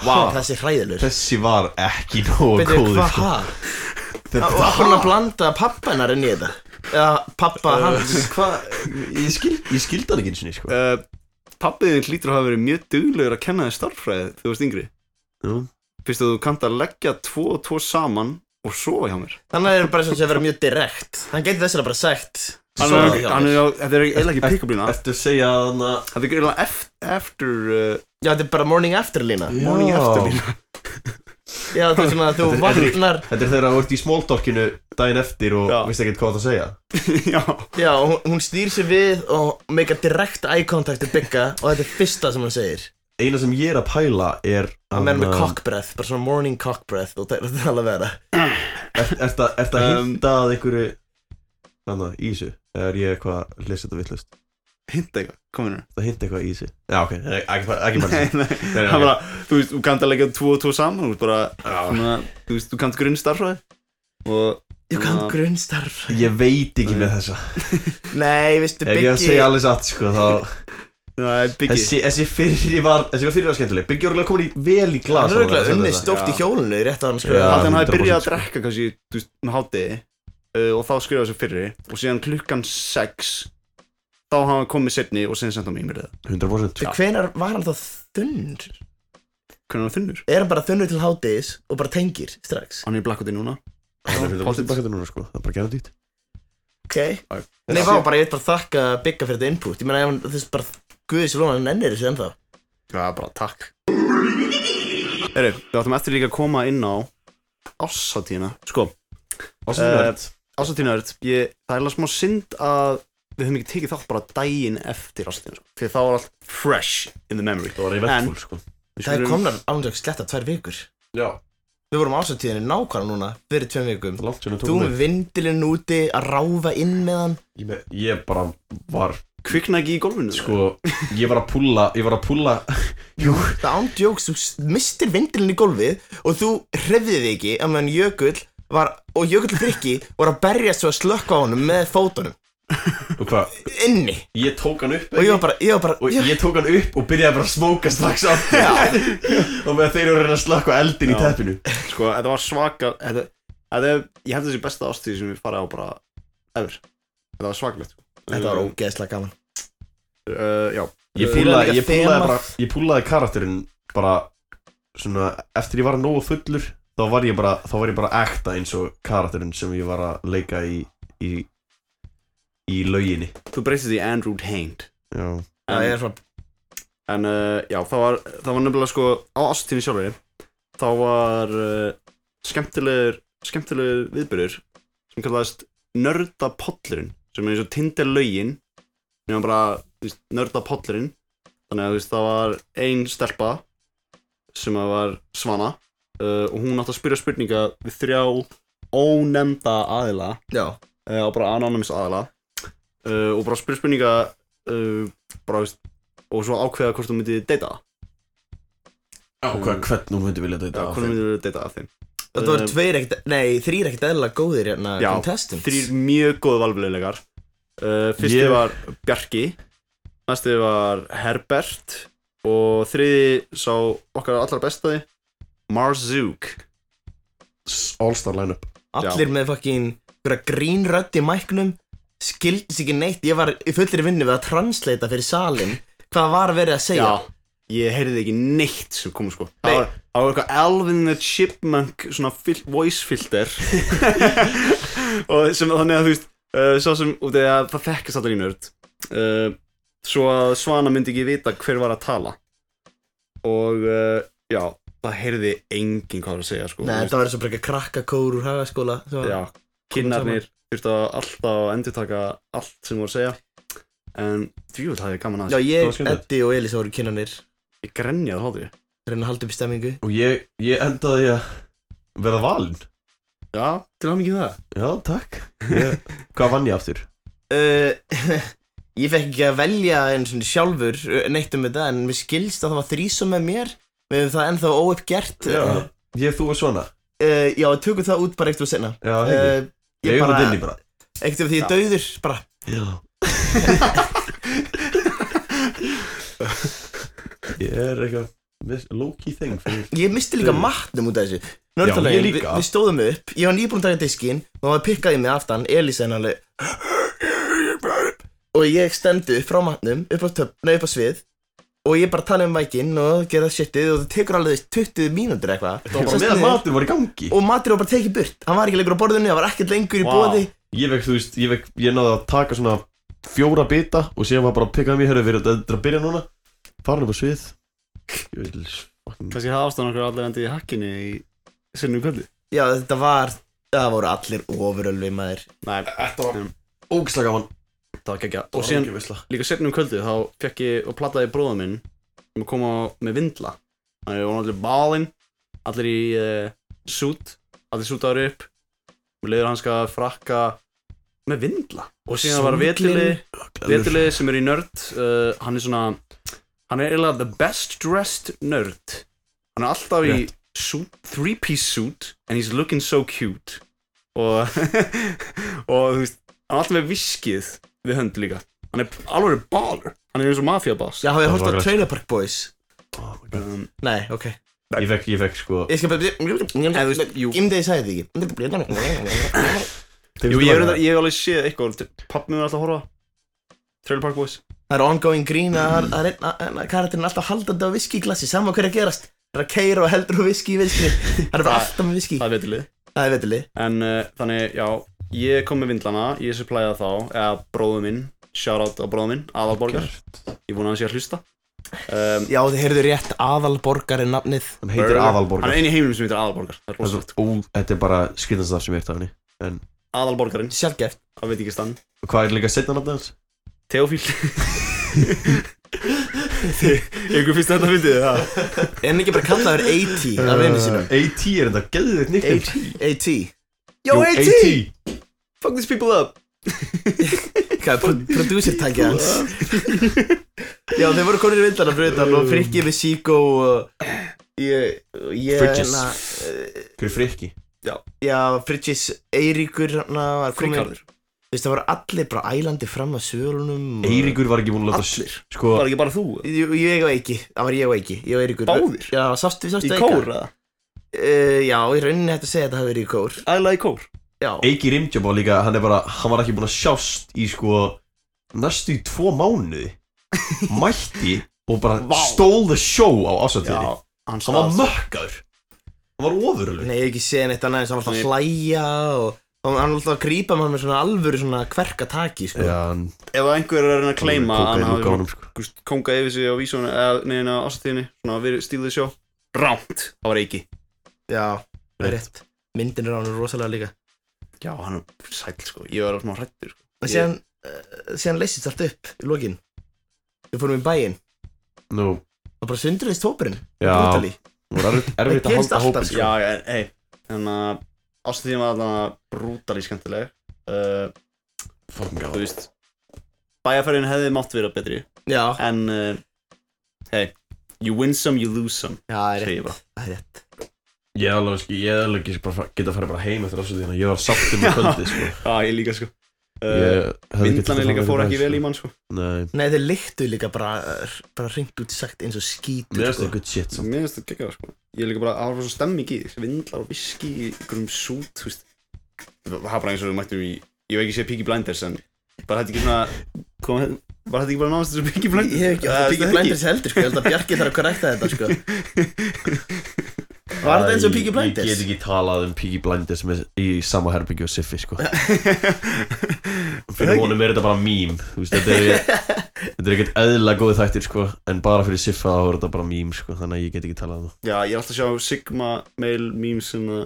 D: Vá, það sé hræðilur
B: Þessi var ekki nógu
D: Betur,
B: góð
D: hvað
B: sko.
D: ha? Og hvað hann að blanda pappa hennar inn í þetta? Eða pappa hans
B: Hvað, ég, skil, ég skildi hann ekki eins og sko
C: uh, Pappiðin hlýtur að hafa verið mjög duglegur að kenna þér starffræði þegar þú varst yngri
B: Jú.
C: Fyrst að þú kannt að leggja tvo og tvo saman og sofa hjá mér
D: Þannig er bara svona sem vera mjög direkt Hann getur þess að bara sagt
C: Hann
D: "Sofa
C: er,
D: hjá
C: hann
D: mér."
C: er, á- þetta er eiginlega ekki pick-up lína
B: Ertu að segja hann að
C: Þetta er eiginlega eft- eftir uh,
D: Já, þetta er bara morning after lína
C: morning after lína
D: Já, þetta er svona að þú
B: Þetta er- þetta er-
D: vaknar
B: Þetta er þegar þú ert í smóltorkinu daginn eftir og
C: Já.
B: veist ekki hvað það að segja
C: Já,
D: Já, og hún, hún stýr sér við og meikar direkt eye contact til bygga og þetta er fyrsta sem hún segir
B: Eina sem ég er að pæla er
D: Hann meðan með
B: að-
D: cock breath, bara svona morning cock breath og þetta er alveg vera
B: Ert ert að ert að
C: Um,
B: hinta að einhverju Þannig að í þessu Eða Er ég eitthvað að lesa þetta vittlust
C: hinta eitthvað, kominu
B: Það hinta eitthvað í þessu Já ok, nei, ekki bara ekki bara
C: Nei,
B: þessu.
C: nei,
B: nei,
C: það er
B: ok.
C: bara, þú veist, þú kannt að leggja tvo og tvo saman Þú veist bara, svona, þú veist, þú kannt grunn starffræði Og
D: Ég kann
C: Já.
D: grunnstarf
B: Ég veit ekki með þessa
D: Nei, veistu,
B: Ef ég að
D: byggi
B: segja alveg satt sko þá
C: það er byggi
B: Þessi, þessi fyrri var, þessi var fyrri var skemmtileg Byggja orðinlega komin í vel í glas
D: Hann er auðvitað unni stórt í
C: Já.
D: hjólinu rétt að hann
B: Já.
D: skrifa
C: Þannig að hann
B: 100%
C: hafi byrjað að
B: sko.
C: drekka kannski, þú veist, með hátegi uh, Og þá skrifaði þessu fyrri Og síðan klukkan 6 Þá hafa hann komið setni og síðan senda mig mér það
B: 100%
D: Til hvenar var hann þá þunnur?
C: Hvernig hann þunnur?
D: Er hann bara þunnur til hátis og bara tengir strax?
C: Hann er í blakkotinn núna
B: Það er 100% bakkvæmdur núna sko Það er bara gerðið dýtt
D: Ok Nei, vá, bara ég veit bara þakka Bigga fyrir þetta input Ég meina, ef hann- þú veist, bara guðið sér lóna hann ennir þessu ennþá
C: Já, bara takk Herru, við áttum eftir líka að koma inn á Ássatína Sko,
B: Ásynlönd
C: Ássatína er ég, Það er alveg smá synd að Við höfum ekki tekið þátt bara daginn eftir Ássatína sko. Fyrir þá var allt fresh in the memory
B: Það var eventful sko
C: Við
D: Það er
C: skulum-
D: komnar ánveg sletta tvær vikur
B: Já
D: Við vorum ásatíðinni nákvæmlega núna fyrir tveim vikum
B: Það er langt sem við
D: Þú
B: tókum
D: með vindilinn úti að ráfa inn með hann
B: Ég með- Ég bara var
C: Kvikna ekki í golfinu
B: sko Ég var að púlla Ég var að púlla Jú
D: Það ándjóks, þú s- mistir vindilinn í gólfið og þú hrefðið þig ekki að meðan Jökull var, og Jökull Frikki var að berjast svo að slökka á honum með fótunum
B: Og hvað
D: inni
B: Ég tók hann upp
D: og ég var bara, ég var bara,
B: Og
D: ég,
B: ég tók hann upp og byrjaði bara að smóka strax á Og með þeir eru að reyna að slökka eldin í
C: Já.
B: teppinu
C: Sko, þetta var svaka þetta, þetta, er- Ég held þessi besta ástíð sem við farið á bara Ever Þetta var svakalegt sko.
D: þetta var ógeðslega gaman.
C: uh, Já,
B: Ég
D: Þeir eru
B: púlaði,
D: líka
B: ég púlaði
D: þemað.
B: bara Ég púlaði karakterinn bara Svona Eftir ég var nógu fullur Þá var ég bara Þá var ég bara ekta eins og karakterinn Sem ég var að leika í Í, í lauginni
C: þú breytist því Andrew Haint
B: Já
D: Já, ég er svona,
C: En uh, já, það var, það var nefnilega sko á ásttíðinni sjálfri þá var uh, skemmtilegur skemmtilegur viðbyrður sem kallaðist nördapollurinn sem er eins og tindelögin nema bara þú veist, nördapollurinn þannig að þú veist, það var ein stelpa eh, sem að var svana uh, og hún átti að spyrja spurninga við þrjá ónemnda aðila
D: Já,
C: uh, og bara anonymous aðila uh, og bara spyr spurninga uh, bara, veist, og svo ákveða hvort þú myndir deyta það.
B: Já, hvað, hvern nú myndi vilja
C: Já,
B: þetta
C: hvort þú myndir deyta af þeim
D: þetta voru
C: Um,
D: tveir ekkert, nei, þrýr ekkert eðlilega góðir hérna
C: Já,
D: contestants
C: þrýr mjög góð valverulegar uh, fyrsti
B: Ég-
C: var Bjarki næsti var Herbert og þriði sá okkar allra bestaði Marzook
B: All-star line-up
D: Allir með fucking einhverja grínrödd í mæknum Skildis ekki neitt Ég var í fullri vinnu við að translata fyrir salin Hvað var verið að segja
C: Já, ég heyrði ekki neitt sem kom sko Það
D: Nei.
C: var, það var eitthvað Alvin the Chipmunk svona fil voice filter og sem þannig að þú veist uh, svo sem, og þegar það þekkist allir í nörd uh, svo að Svana myndi ekki vita hver var að tala og uh, já það heyrði enginn hvað var að segja sko
D: Nei,
C: Þú
D: þetta var eins og bara eitthvað krakkakór úr hagaskóla sem var-
C: já, kinnarnir þurfti að alltaf að endurtaka allt sem voru að segja en djúvel það er gaman að
D: Já,
B: Það
D: ég,
B: var skemmtilegt.
D: Eddi og Elisa voru kynanir
C: ég grenjaði hátu
D: Reyna að halda upp í stemmingu
B: Og ég, ég endaði að verða valinn
C: já, til hann ekki það
B: Já, takk ég, Hvað vann ég aftur?
D: uh, Ég fekk ekki að velja eins og sjálfur uh, neitt um þetta En mér skilst að það var þrísum með mér Við höfum það ennþá óuppgert uh,
B: Eh, Ég, þú og svona
D: Já, tökum það út bara eitthvað senna
B: Já, heim
D: uh,
B: Ég
D: Ég
B: eigum þetta inn í
D: bara,
B: bara
D: ekkert af því ég er dauður bara
B: Já Ég er eitthvað mis- low-key thing fyrir
D: Ég misti líka matnum út af þessu Nördalögin,
B: Mm. Já, ég
D: við,
B: líka.
D: við stóðum upp Ég var nýbúin að taka diskinn Og það pikkaði mig aftan Elisa henni alveg Og ég stendu upp frá matnum Upp á, töp, nei, upp á svið Og ég bara tala um mækinn Og gera shitið Og það tekur alveg 20 mínútur eitthvað
B: Og
D: Sest
B: meðan
D: niður,
B: matur var í gangi
D: Og matur var bara tekið burt Hann var ekki lengur á borðinu Það var ekkert lengur í
C: Vá.
D: wow. bóði
B: Ég vekk, þú veist, ég vekk, ég náði að taka svona fjóra bita og síðan var bara að pikkaði mér, herru, við erum þetta að byrja núna Farin upp á svið Ég vil fucking
C: Kanski það ástæðan okkur allir endið í hakkinni í um sinnum kvöldi
D: Já þetta var Það voru allir ofurölvi maður
C: Nei,
B: Þetta var ógislega gaman
C: það var gekkja
B: Og
C: Og síðan
B: veisla
C: líka sinnum kvöldi þá fekk ég og plattaði bróða minn sem kom á með vindla Þannig voru allir balinn allir í uh, sút allir sútaður upp og leiður hans sko, að frakka með vindla og síðan var vetlili vetlili sem er í nörd uh, hann er svona hann er eiginlega the best dressed nerd hann er alltaf í suit, three piece suit and he's looking so cute og og þú veist hann er alltaf með viskið við hönd líka hann er alveg baller hann er eins og mafiaboss
D: Já, hafið þið
B: Það
D: hórt
B: var
D: á Trailer Park Boys
B: Oh my god.
C: um,
D: Nei, ok
B: Ég fekk, ég fekk sko
D: Ég skal bara Gimdegi sagði þetta ekki
C: jú ég, er, reyndar- ég hef alveg séð eitthvað pappi mér er alltaf að horfa á Trailer Park Boys
D: Það er ongoing grín að að- að reyna- að- að karakterinn er alltaf haldandi á viski í glassi Saman hverja gerast Það er að keira og heldur á viski í viski Það er bara
C: Það-
D: alltaf með viski
C: það er vetilið
D: Það er veitili
C: En uh, þannig, já, ég kom með vindlana, ég supplyði þá, eða bróðu minn, shoutout á bróðu minn, aðalborgar, ég vona að hann sé að hlusta. Um,
D: Já þið heyrðu rétt aðalborgar er nafnið
B: Hann heitir
C: Hann
B: Aðalborgar
C: er eini í heiminum sem heitir aðalborgar, það er
B: Þetta
C: rosalegt.
B: er- ó, Þetta er bara skilnastar sem ég eftir af henni En
C: Aðalborgarinn,
D: Sjálfgeft
C: það veit ekki stann.
B: hvað er líka setna nafnið hans?
C: Teofíl. Ykkur fyrst þetta fyndið þið það.
D: Er hann ekki bara kallaður AT af
B: Uh.
D: einu sinum
B: AT Eh, er þetta geðið nýtt
D: AT
C: Yo, AT!
B: AT
C: Fuck these people up!
D: Hvað er pro- producer tækið hans Já þeir voru konir í vindana fyrir utan Og frikki við Siko og Ég Ég
B: Fridges.
D: hérna,
C: eh,
B: Hver er frikki?
D: Já Fridges Eiríkur hérna var kominn-
C: Frikarður.
D: Þú veist, það voru allir bara ælandi fram að svölunum og-
B: Eiríkur var ekki búin að láta
C: Allir.
B: Sko,
C: Var ekki bara þú?
D: Jú, ég og Eiki, það var ég og Eiki, ég og Eiríkur
C: Báðir?
D: Já, sástu við sástu
C: Í
D: Eika?
C: kór, eða?
D: Uh, já, í rauninni hættu að segja að þetta hafi verið í kór
C: Æla í kór.
D: Já,
B: Eiki Rimjob var líka, hann er bara, hann var ekki búin að sjást í sko næstu í tvo mánuði mætti og bara
C: Vá.
B: stole the show á ásættiðinni
C: hann
B: hann var
C: staðs-
B: mökkaður hann var ofurölu
D: nei, ég hef ekki segja neitt annað eins og hann var
C: Nei.
D: alltaf að hlæja og og hann var alltaf að grípa mann með svona alvöru svona kverkataki, sko
B: Já, hann
C: Ef einhver er að reyna að kleima að hann
B: kókaði
C: hafi
B: lúka á honum sko
C: gust, konga yfir sig á vísun eða neina á ástíðinni svona við stíluði sjó rámt það var ekki
D: Já, það er rétt Myndin er á hann rosalega líka
C: já hann er sæl sko ég var alveg smá hrættur sko.
D: Og síðan, uh, síðan leysist allt upp í lokin Við fórum í bæinn
B: Nú,
D: og bara sundurðist hópurinn
B: Já.
D: Brutally.
B: það var erfitt- erfitt
D: Það
B: að
D: gerist
B: halda sko.
D: alltaf,
B: hópin
D: sko.
B: sko
C: já en hei þannig að ástæðin var alltaf brútalí skemmtileg uh,
B: Fucking
C: Þú
B: god
C: veist Bæjarferðin hefði mátt vera betri
D: Já,
C: En uh, Hey You win some, you lose some
D: já, það er
C: Segir ég
D: rétt,
C: bara
D: það er rétt
B: Ég er alveg, sko, ég er alveg ekki bara, að geta að fara bara heim eftir þessu þína Ég var sáttum með kvöldi, sko
C: Já, ég líka sko uh,
B: Ég hefði getað
C: Vindlanir
B: farið
C: líka
B: betur
C: fór
B: með,
C: ekki
B: sko.
C: vel í mann sko
B: Nei,
D: Nei, þeir lyktu líka bara, bara hringt út sagt eins og skítur sko.
B: mér er þetta good shit samt
C: Mér finnst þetta geggjað sko Ég er líka bara Það var svo stemming í því Vindlar og viski í Ykkurum sút Þú veist Það var bara eins og við mættum í Ég hef ekki séð Piggy Blinders en Var þetta ekki svona Kom hérna Var þetta ekki bara náðast þessu Piggy Blinders
D: Ég hef ekki átt að
C: Það
D: Piggy
C: er
D: Blinders heldur sko, ég held að Bjarki þarf að korrekta þetta sko Var þetta eins og
B: Æ,
D: Piggy
B: Ég
D: Blinders?
B: get ekki talað um Piggy Blinders með, í sama herbyggju og Siffi sko Fyrir honum er þetta bara mím þú veist, Þetta er, þetta er ekkert eðla góð þættir sko En bara fyrir Siffa þá er þetta bara mím sko Þannig að ég get ekki talað um það
C: Já, ég er alltaf að sjá Sigma mail memes hérna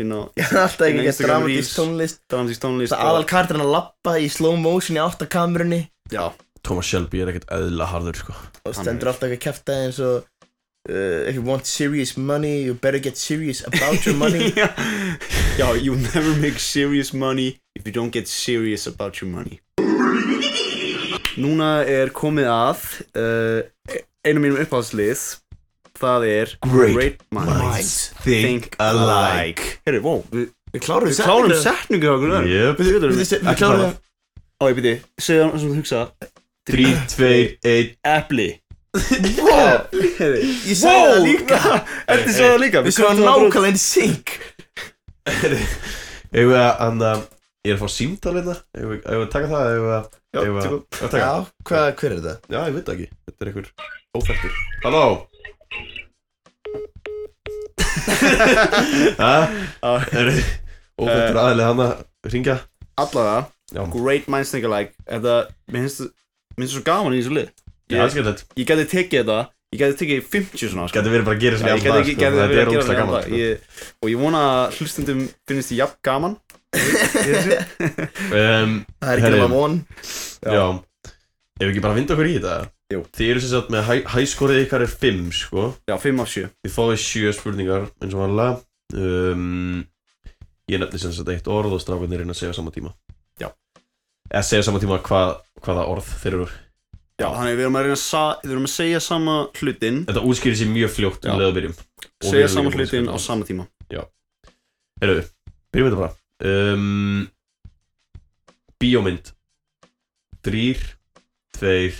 C: inn á
D: Ég er alltaf ekki
C: Nei,
D: gett
C: Instagram
D: dramatísk
C: Reels.
D: tónlist
C: Dramatísk tónlist
D: Það aðal kartirinn að lappa í slow motion í áttakamrunni
C: Já,
B: Thomas Shelby er ekkert eðla harður sko
D: og stendur alltaf ekki að kæfta eins og uh, If you want serious money, you better get serious about your money
C: já, já, you never make serious money if you don't get serious about your money Núna er komið að uh, einu mínum uppáhaldslið það er
B: Great
C: minds think alike Herri, wow, við,
D: Við klárum
C: við klárum setningu á okkur þar
B: Jöp
C: Við við- við-
D: Við klárum
C: Ó, ég byrði, segja það sem þú hugsa
B: 3, 2, 1
C: Epli Herri,
D: Ég sagði það líka
C: Ertu svo það líka?
D: Við séum nákvæmlega in sync
B: Ég veit að hann að Ég er að fá símtal hérna Ég veit að taka það Ég veit
C: Já,
B: að
C: tökum.
B: Eigum við að taka
D: Já, hvað, hver er það?
B: Já, ég veit það ekki Þetta er einhver óþættur Halló
C: Já.
B: Hæ? Er þið
C: Eh.
B: óþættur aðlið hann að ringja?
C: Allavega
B: Já,
C: Great Minds Think Alike Þetta, mér finnst mér finnst svo gaman í þessu lið
B: ég elskar þetta
C: Ég gæti tekið þetta Ég gæti tekið 50 svona sko.
B: sko. Gæti verið bara að gera
C: Já,
B: svona
C: Ég gæti ekki
B: sko,
C: gæti
B: Þetta er
C: verið að gera
B: ógæslega
C: þetta
B: gaman
C: gaman ég, Og ég vona að hlustendum finnist ég jafn gaman
B: sko. um,
D: Það er ekki
B: Herri.
D: nema von
B: Já Ef við ekki bara vinda okkur í þetta
C: Jú.
B: Þið eru sem sagt með hæ, hæskorið ykkar er 5 sko
C: Já, 5 af 7
B: Þið fáið 7 spurningar eins og vanlega um, Ég nefni sem sagt eitt orð og strákunir reyna að segja á sama tíma
C: Já.
B: Eða segja á sama tíma hva, hvaða orð þeir eru
C: Já, þannig við erum að reyna að, sa, við erum að segja sama hlutin
B: Þetta útskýrir sér mjög fljótt
C: Já.
B: um leið og byrjum Og við
C: Segja
B: erum
C: sama um
B: líka búin að
C: hlutin á
B: spila.
C: sama tíma
B: Heyrðu, byrjum við þetta bara um, Bíómynd Þrýr Tveir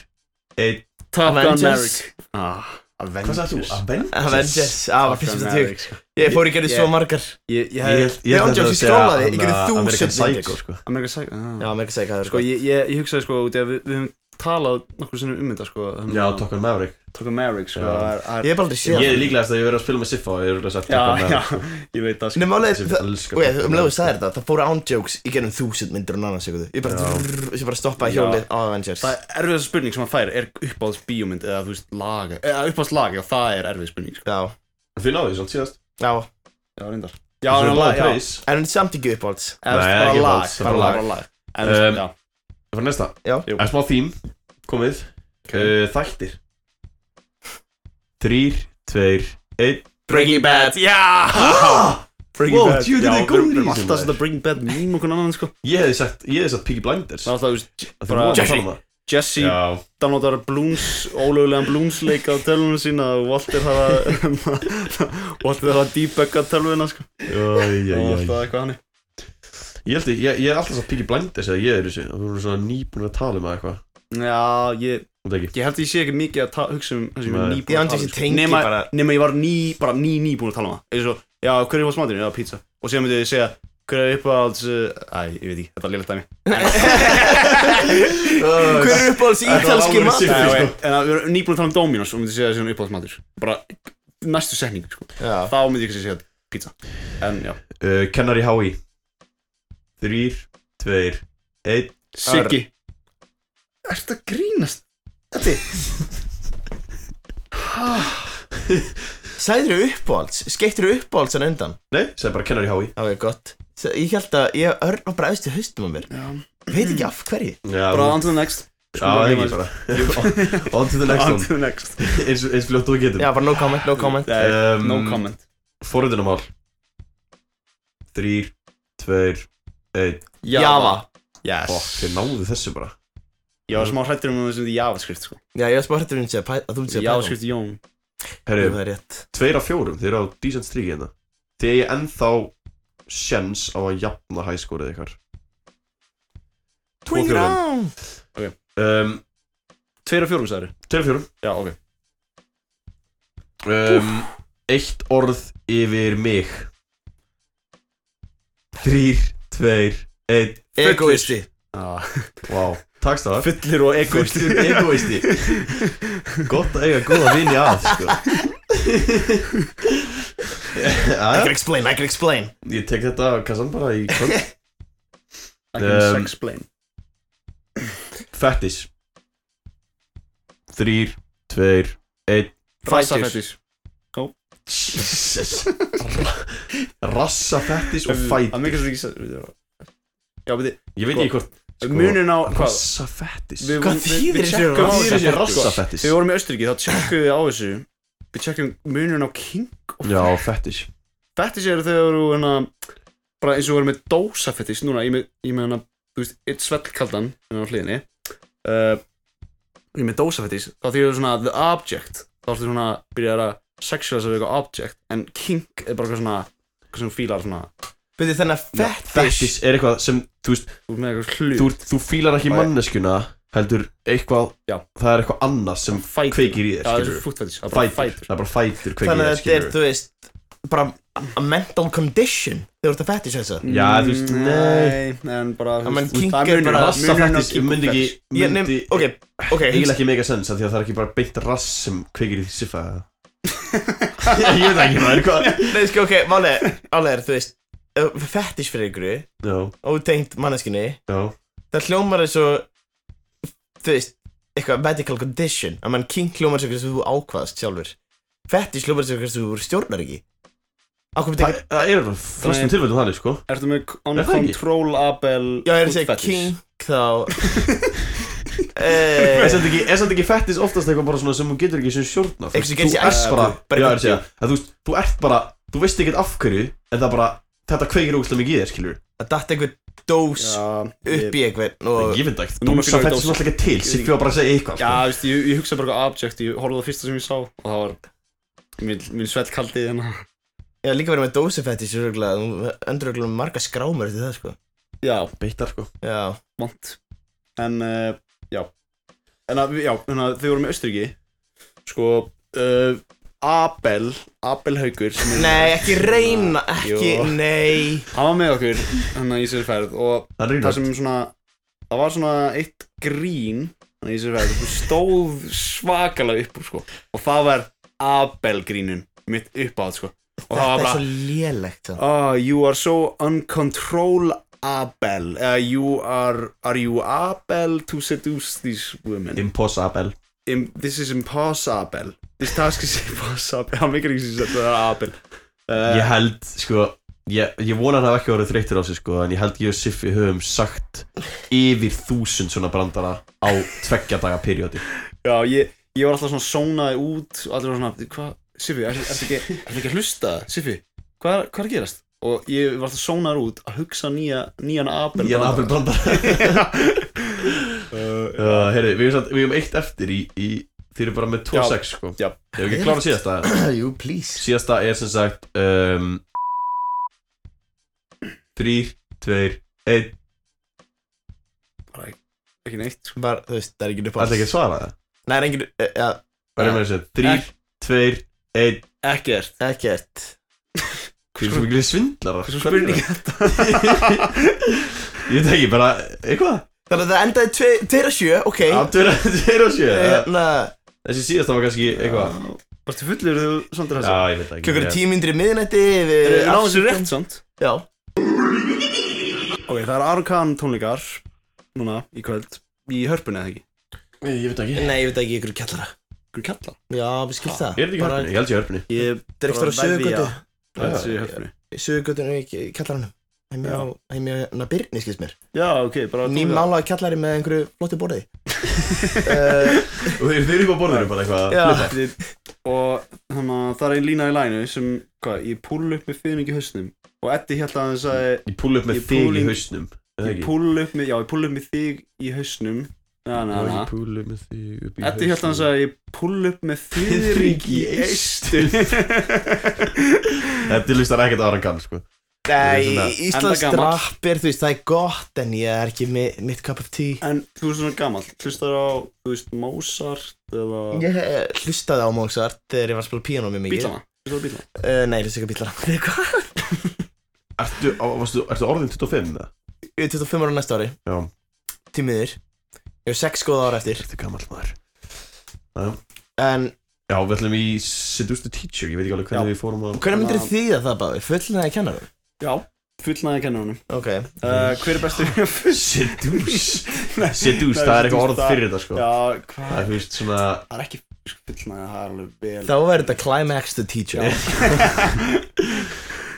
B: Einn
D: Top
C: Avengers ah,
B: Hvað
C: Avengers
B: sagði þú? Avengers?
D: Avengers, það var fyrst þetta tök Ég fór í gerði svo
C: Ég-
D: margar
C: Ég, ég
B: Ég
C: hef
B: held- ég held
D: Leon
B: að
D: Jones,
B: það
D: ég
B: sé
D: skrollaði,
B: að
D: ég gerði
B: hann, uh, American
D: 1000 myndir.
B: Psycho, sko.
C: Amerika sæk ah.
D: Já, mér ekki segja hvað það er
C: Sko, ég, ég, ég hugsaði sko út í að við, við höfum talað nokkur sinnum um þetta sko
B: Já, Top Gun Maverick
C: Tókum Maverick sko
B: Já.
C: það er- það er-
D: Ég hef bara aldrei séð
B: Ég er
D: það
B: líklegast að ég verið að spila með Siffa og ég er að sagt Top Gun
C: Já, já,
B: Maverick
C: ég veit það sko
D: Nei, málið,
B: Þessi
D: það-
B: elska
D: og
B: Top Gun
D: ég, um leiðu
B: Maverick,
D: sagði þetta, það fóru án jokes í gerðum þúsund myndir og nana segundu Ég bara,
B: Já.
D: drrrr, ég bara stoppaði
C: Já.
D: hjólið á Avengers
C: Það er erfiðast spurning sem hann fær er uppáhalds bíómynd eða þú veist lag eða uppáhalds lag já það er erfið spurning sko.
D: Já,
B: sko. Þið náðu því svona síðast
D: já,
C: Já reyndar Já,
B: Þessu
C: en
B: bláa
C: lag, já
B: preis.
D: en samt ekki uppáhalds
C: Eða þú
B: Nei,
C: veist,
B: ekki
C: bara lag,
B: uppáhalds,
C: bara
B: bara
C: lag,
B: lag.
C: bara lag En þú veist,
B: Um,
C: já
B: Það fyrir næsta
D: Já.
C: Jú.
B: Er smá þím Komið uh, Þættir Þrýr Tveir Einn
D: Breaking Bad
B: Wow, djú, þetta er góð
C: Við erum
B: lýsing,
C: alltaf
B: maður.
C: svona Breaking Bad mím og hvernig annan sko
B: Ég hefði sagt Ég hefði sagt Piggy Blinders
C: Það er alltaf, þú veist,
B: Af því
C: bara-
B: við vorum að tala
C: Jesse.
B: um það.
C: Jesse
B: Já
C: downloadar blúms, ólögulegan blúmsleik á tölvunum sína og Walter þarf að Walter þarf að debugga tölvuna sko
B: Æj, æj,
C: og
B: æj.
C: alltaf eitthvað hann
B: Ég held ekki, ég, ég er alltaf svo Piggy Blinders eða ég er þessu Þú erum svona nýbúin að tala um það eitthvað
C: Já, ég,
B: Þú veit ekki
C: ég held að ég sé ekki mikið að ta- hugsa um það sem ég er
B: Nei.
C: nýbúin
D: Ég
C: að
D: andi
C: tala um,
D: sem
C: sko.
D: tengi
C: Nema-
D: bara
C: nema ég var ný, bara ný ný búin að tala um það eins og, já, hver er upp á smatinu? Já, pizza og síðan myndi ég segja, hver er upp á alls æ, ég veit ekki, þetta er liðlega dæmi
D: Hver er uppáhalds ítalski
B: alvöru
D: matur?
B: Nei,
C: Nei,
B: sko.
C: en- en að við erum nýbúin að tala um Dominos og myndi ég segja síðan upp á smatur bara næstu setning, sko
D: Já,
C: þá myndi ég kannski segja pizza en já,
B: uh, Kennari Hái Þrýr, tveir, einn
C: Siggi Ertu að grínast?
D: Sæður þú uppáhalds? Skeittir þú uppáhalds hann undan?
B: Nei, segði bara Kennari Hái
D: Já, ég gott S- Ég held að ég örn var bara auðvitað haustum á mér
C: Já.
D: Veit ekki af hverju
B: Já,
C: bara
B: þú-
C: on to the
B: já,
C: next
B: það er ekki bara On to the next
C: on
B: one
C: to the next
B: Eins eins fljótt og við getum
D: Já, bara no comment, no comment
C: Nei,
B: Um,
C: no comment
B: Forritunamál Þrýr, tveir, einn
D: Java
B: Ó,
C: Yes
B: þið náðu þessu bara
C: Ég var smá hrættur um að það sem þetta javascript sko
D: Já, ég var spárhættur um að segja- að þú myndi segja
C: Javascript Jón
D: Jú,
B: Herru,
D: það er rétt
B: tveir af fjórum, þið eru á decent stríki hérna Þið er ennþá sjens á að jafna hæskórið ykkar Twing round um,
C: Tveir og fjórum sagður
B: Tveir af fjórum
C: Já, ok
B: um, Eitt orð yfir mig Þrýr, tveir, einn
D: Egoisti
C: ah.
B: Vá, takk það
C: Fullir og egoist
B: Fullur egoisti Gott að eiga góða vini að sko.
D: I
B: Jæja,
D: can explain, I can explain
B: Ég tek þetta kassan bara í kvöld
C: I can
B: Um,
C: sex blame
B: Fettis Þrýr, tveir, einn
C: Rassafetis
B: Jesus Rassa fettis og
C: Það
B: fætis
C: mikilvægt ekki sagður Já, veitir
B: Ég veit ekki hvort sko,
C: Munin á hvað?
B: Rassa fettis
C: Við-
D: Hvað
C: við- við
D: þýðir þessi
C: checkum á
B: Hvað er
C: þessu,
B: þessi
C: sko.
B: rassa fettis?
C: Þegar við vorum í Austuríki þá tjekkum við á þessu Við tjekkum munin á king og
B: Já, fettis
C: fettis eru þegar þú hérna bara eins og við erum með dósa fettis núna ég er með, ég er með hérna, þú veist, eitt svellkaldan hérna á hliðinni uh, ég er með dósa fettis þá þýður svona the object þá ertu svona byrjar að sexualisa við eitthvað object en king er bara eitthvað svona eitthvað sem þú fílar svona
D: Byrði þannig að fetish
B: Fettis er eitthvað sem, þú veist,
C: þú ert með eitthvað hlut
B: þú, þú fílar ekki manneskuna heldur eitthvað,
C: Já.
B: það er eitthvað annað sem
C: fætur
B: kveikir í þér,
C: já það
B: skilurðu.
C: er fútt fettis það er bara
B: fætur,
C: fætur
B: það er bara fætur kveikir
D: Þannig að þetta er,
B: skilurðu.
D: þú veist Bara a mental condition Þegar þú ert að fetish þessa
B: Já, þú veist,
C: Mm,
B: nei.
C: nei en bara þú
D: Já, menn
C: veist,
D: kink
C: það
D: er
C: munur-
D: bara-
B: Rassa
C: munurinn á
B: fættis
C: kink og
B: myndi
C: fetish.
B: ekki,
D: Ég nefn,
B: myndi
D: ok, ok
B: eiginlega ekki mega sens af því að það er ekki bara beint rass sem kveikir í því siffa ég veit ekki maður hvað
D: Nei, sko, ok, málega, málega, þú veist ef Fetish fyrir ykkur
B: já,
D: Ótengt manneskinni
B: já,
D: Það hljómar eins og Þú veist, eitthvað medical condition Að mann king hljómar sem þú ákvaðast sjálfur Fetish hljómar sem þú stjórnar ekki Ákvæm
B: það,
D: tekið
B: það er alveg flestum tilvægum þannig sko
C: Ertu með
B: Er það ekki?
C: uncontrollable
D: Já, ég er að segja
C: fetish?
D: king þá
B: er
D: Eh,
B: samt ekki, er samt ekki fettis oftast eitthvað bara svona sem hún getur ekki sem sjórna
D: Eitthvað sem gerist í æsku,
B: bara,
D: bara
B: já,
D: eitthvað-
B: er að segja, að þú, veist, þú ert bara, þú veist ekkert af hverju en það bara, þetta kveikir ógustlega mikið í þér skilur
D: Það datt einhver dós
C: Já,
D: upp í einhvern
B: Og
D: og
B: ég veit ekki,
C: Núna
B: dósa
C: fyrir
B: fættist
C: dósa.
B: náttúrulega ekki til Siffi var bara að segja eitthvað sko.
C: Já, veist, ég, ég hugsa bara eitthvað object, ég horfði á það fyrsta sem ég sá og það var minn, minn svell kaldið hérna.
D: Já, líka verið með dósefettis Öndur örugglega með marga skrámur eftir það, sko
C: Já,
B: Beittar sko
D: Já,
C: vant. En, uh, já. En að, já, þannig að þau voru með Östuríki, sko, uh, Abel, Abel Haugur, sem er,
D: nei, ekki reyna, ekki,
C: Jú.
D: nei
C: hann var með okkur hann í sér ferð og
B: Það
C: það
B: reynar
C: sem svona, það var svona eitt grín hann í sér ferð, þú stóð svakalega upp úr, sko, og það var Abel grínun mitt upp á það, sko. Og það
D: Þetta
C: var
D: er
C: bara,
D: svo lélegt það.
C: Ah, you are so uncontrollable. Uh, you are are you able to seduce these women?
B: Impossible
C: Im, this is impossible. This task is impossible. Hann mikil ekki sem þetta er abel. Uh,
B: Ég held sko Ég, ég vona hann hafa ekki orðið þreyttur á sig sko En ég held ég og Siffi höfum sagt Yfir þúsund svona brandara Á tveggja daga periódi
C: Já, ég, ég var alltaf svona sónaði út og allir var svona, hvað, Siffi, ertu er, ekki, er ekki að hlusta? Siffi, hvað, hvað er að gerast? Og ég var alltaf sónaður út að hugsa nýja, nýjan abel.
B: Ég er abel brandara uh, Herri, við erum, samt- við erum eitt eftir í, í Þið eru bara með
C: Já.
B: 2-6 sko
C: Já.
B: Ef ekki klára síðasta
D: Jú, please
B: Síðasta er sem sagt um, 3, 2, 1
C: Ekki neitt, sko.
D: Bara, þú veist, það er engin upp
B: Ætla ekki að svara það?
D: Nei, það er engin, eh, já,
B: Hvað er með þessu? 3, 2, 1
D: e,
C: Ekkert.
D: ekkert
B: Þeir eru svo miklu svindlarar
C: Hversu spurning er þetta?
B: Ég veit ekki, bara eitthvað
D: Þannig að það endaði tve- tveir að sjö, ok
B: Aftur að þeir og sjö
D: Hérna,
B: Þessi síðasta var kannski eitthvað
C: Varstu fullur þegar þú samt er
B: Já, ég veit það ekki
D: klukkur
B: Ég-
D: tímindri miðnætti
C: Við
D: Við
C: náðum sér rétt samt
D: Já,
C: Ok, það er Aron Kahn tónleikar Núna, í kvöld Í hörpunni eða ekki
B: Ég veit ekki
D: nei, ég veit ekki, ykkur kjallara
C: Hverju kalla?
D: Já, við skil það
B: Ah, Er þetta ekki hörpunni? Ég held ég hörpunni
C: Ég
D: Direktur á
C: bara veðja
D: sögugötu
C: að þetta sé í hörpunni
D: Sögugötunum í kjallaranum Heimi á, heimi á, hérna, Birni, skilst mér
C: Já, ok, bara tónleikar.
D: Nýmálaða kjallari með einhverju flottu borði uh,
B: Og þeir þeir eru upp á borðinu bara eitthvað
D: Já,
C: Og þannig að það er ein lína í lænu sem, hvað, ég púl upp með fyrir mikið hausnum og Eddi held að hann sagði
B: Ég púl upp með
C: Ég
B: þig í
C: púling-
B: hausnum er það
C: ég
B: ekki?
C: púl upp með, já, ég púl upp með þig í hausnum na, na, na.
B: Ég púl upp með þig upp í
C: Eddi held að hann sagði ég púl upp með þiðring í eistum
B: Eddi listar ekkert ára kann sko svona-
D: Nei, Íslands
F: Enda gamall.
D: drapp er, þú veist, það er gott en ég er ekki mi- mitt cup of tea
C: en þú ert svona gamall hlustar á, þú veist, Mozart eða
D: Ég eh, hlustaði á Mozart þegar ég var að spila píanó mjög mikið
C: bílana hlustar á bílana
D: Uh, nei, hlusta ekki á bílana
B: Ertu, á- varstu, ertu orðin 25 það?
D: Ég er 25 ára næsta ári
B: Já.
D: Tímiður Ég hef 6 góða ára eftir
B: Ertu gammal maður
D: En
B: Já, við ætlum í Seduce the Teacher Ég veit ekki alveg
C: Já.
B: hvernig við fórum að
D: hvernig myndir þið að það báði? Fullnaði kennarum?
C: já, fullnaði kennunum
D: Ok
C: uh, hver er bestu
B: Seduce Seduce, það er eitthvað orð fyrir þetta sko
C: já,
B: Það er
C: hvað
B: þú veist svona
C: það er ekki fullnaði, það er alveg vel
D: Þá verður þetta climax the teacher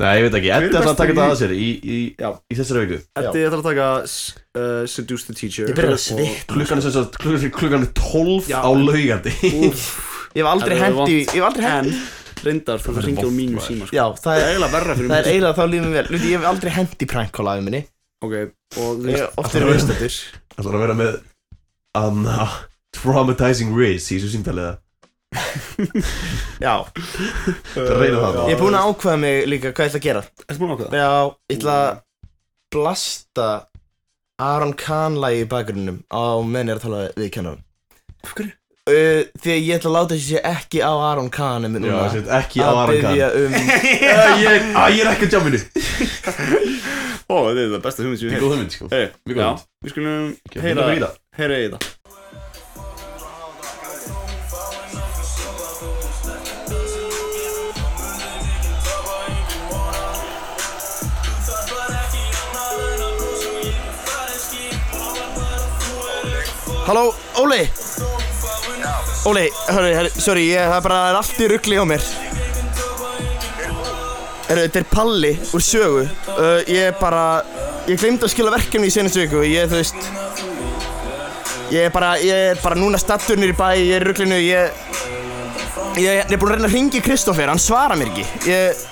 B: Nei, ég veit ekki Eddi
C: Hver er
B: ætlar að taka
C: bestur
B: þetta
C: í-
B: að sér í, í,
C: Já.
B: í þessari viku
C: Eddi ætlar að taka uh, Seduce the Teacher
D: Ég byrjar að
C: Og-
D: svitna
B: Klukkan er sem sagt klukkan, klukkan er 12
C: Já.
B: á laugandi
D: Ég hef aldrei
C: Það er
D: hendi Ég hef aldrei hendi
C: En reyndar fyrir að ringja úr mínum síma sko.
D: Já, það
C: Það er
D: er
C: eiginlega verra fyrir
D: Það er
C: mig
D: eiginlega þá lífum vel Luti, ég hef aldrei hendi prank call afi minni
C: Ok, og þú
D: Ég
C: veist
D: hef oft verið viðstættur
B: ætlar að vera með um, Traumatizing Riz í þessu símtaliða
D: Já
B: Það reyna það
D: Ég er búinn að ákveða mig líka hvað ég ætla að gera
C: Ertu búin að ákveða?
D: Já, ég ætla að blasta Aron Kahn lagi í bakgrunnum á menn ég er að tala við kennarum
C: Af hverju?
D: uh, Því að ég ætla að láta þessi sé ekki á Aron Kahn
B: Já,
D: en núna
B: sem sagt, ekki á Aran Khan
D: biðja um
B: Æ, ég, æ, ég er ekki á jamminu Þetta
C: Ó, þetta er það besta hugmynd sem
B: er góð hugmynd, sko
C: Hey,
B: Mjög góð hugmynd.
C: við skulum
B: Heyra í það
C: heyra í það
D: Halló, Óli Óli, hörru, hörru, sorry, ég, það er bara það er allt í ruggli hjá mér Herru, þetta er Palli úr sögu uh, Ég bara, ég glemdi að skila verkefni í senast viku Ég, þú veist Ég er bara, ég er bara núna stattur niður í bæ Ég er í rugglinu, ég Ég, ég er búinn að reyna að ringi Kristoffer, hann svarar mér ekki Ég,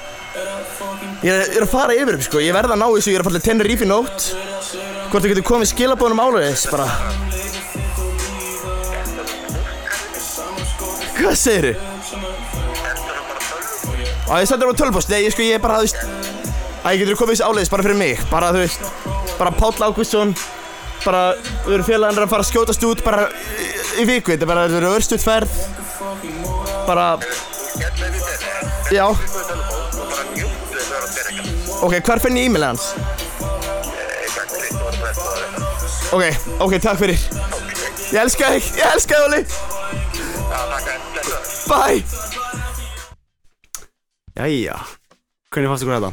D: ég er, ég er að fara yfir upp, sko Ég verð að ná þessu, ég er að falla tennir í nótt Hvort þú getur komið skilabóðunum álega bara Hvað segir þið? Á, ég sendur það á tölpost, nei, ég sko, ég bara, þú veist Æ, getur þú komið þessi áleiðis bara fyrir mig, bara, þú veist Bara Páll Ágústsson Bara, við erum félagarnir að fara að skjótast út bara í, í viku, þetta er bara, þetta er örstuð ferð Bara Já Ok, hvar finn ég e-mailið hans? Ok, ok, takk fyrir Ég elska þig, ég elska þig, Óli Bye
C: Jæja, hvernig fannst ykkur þetta?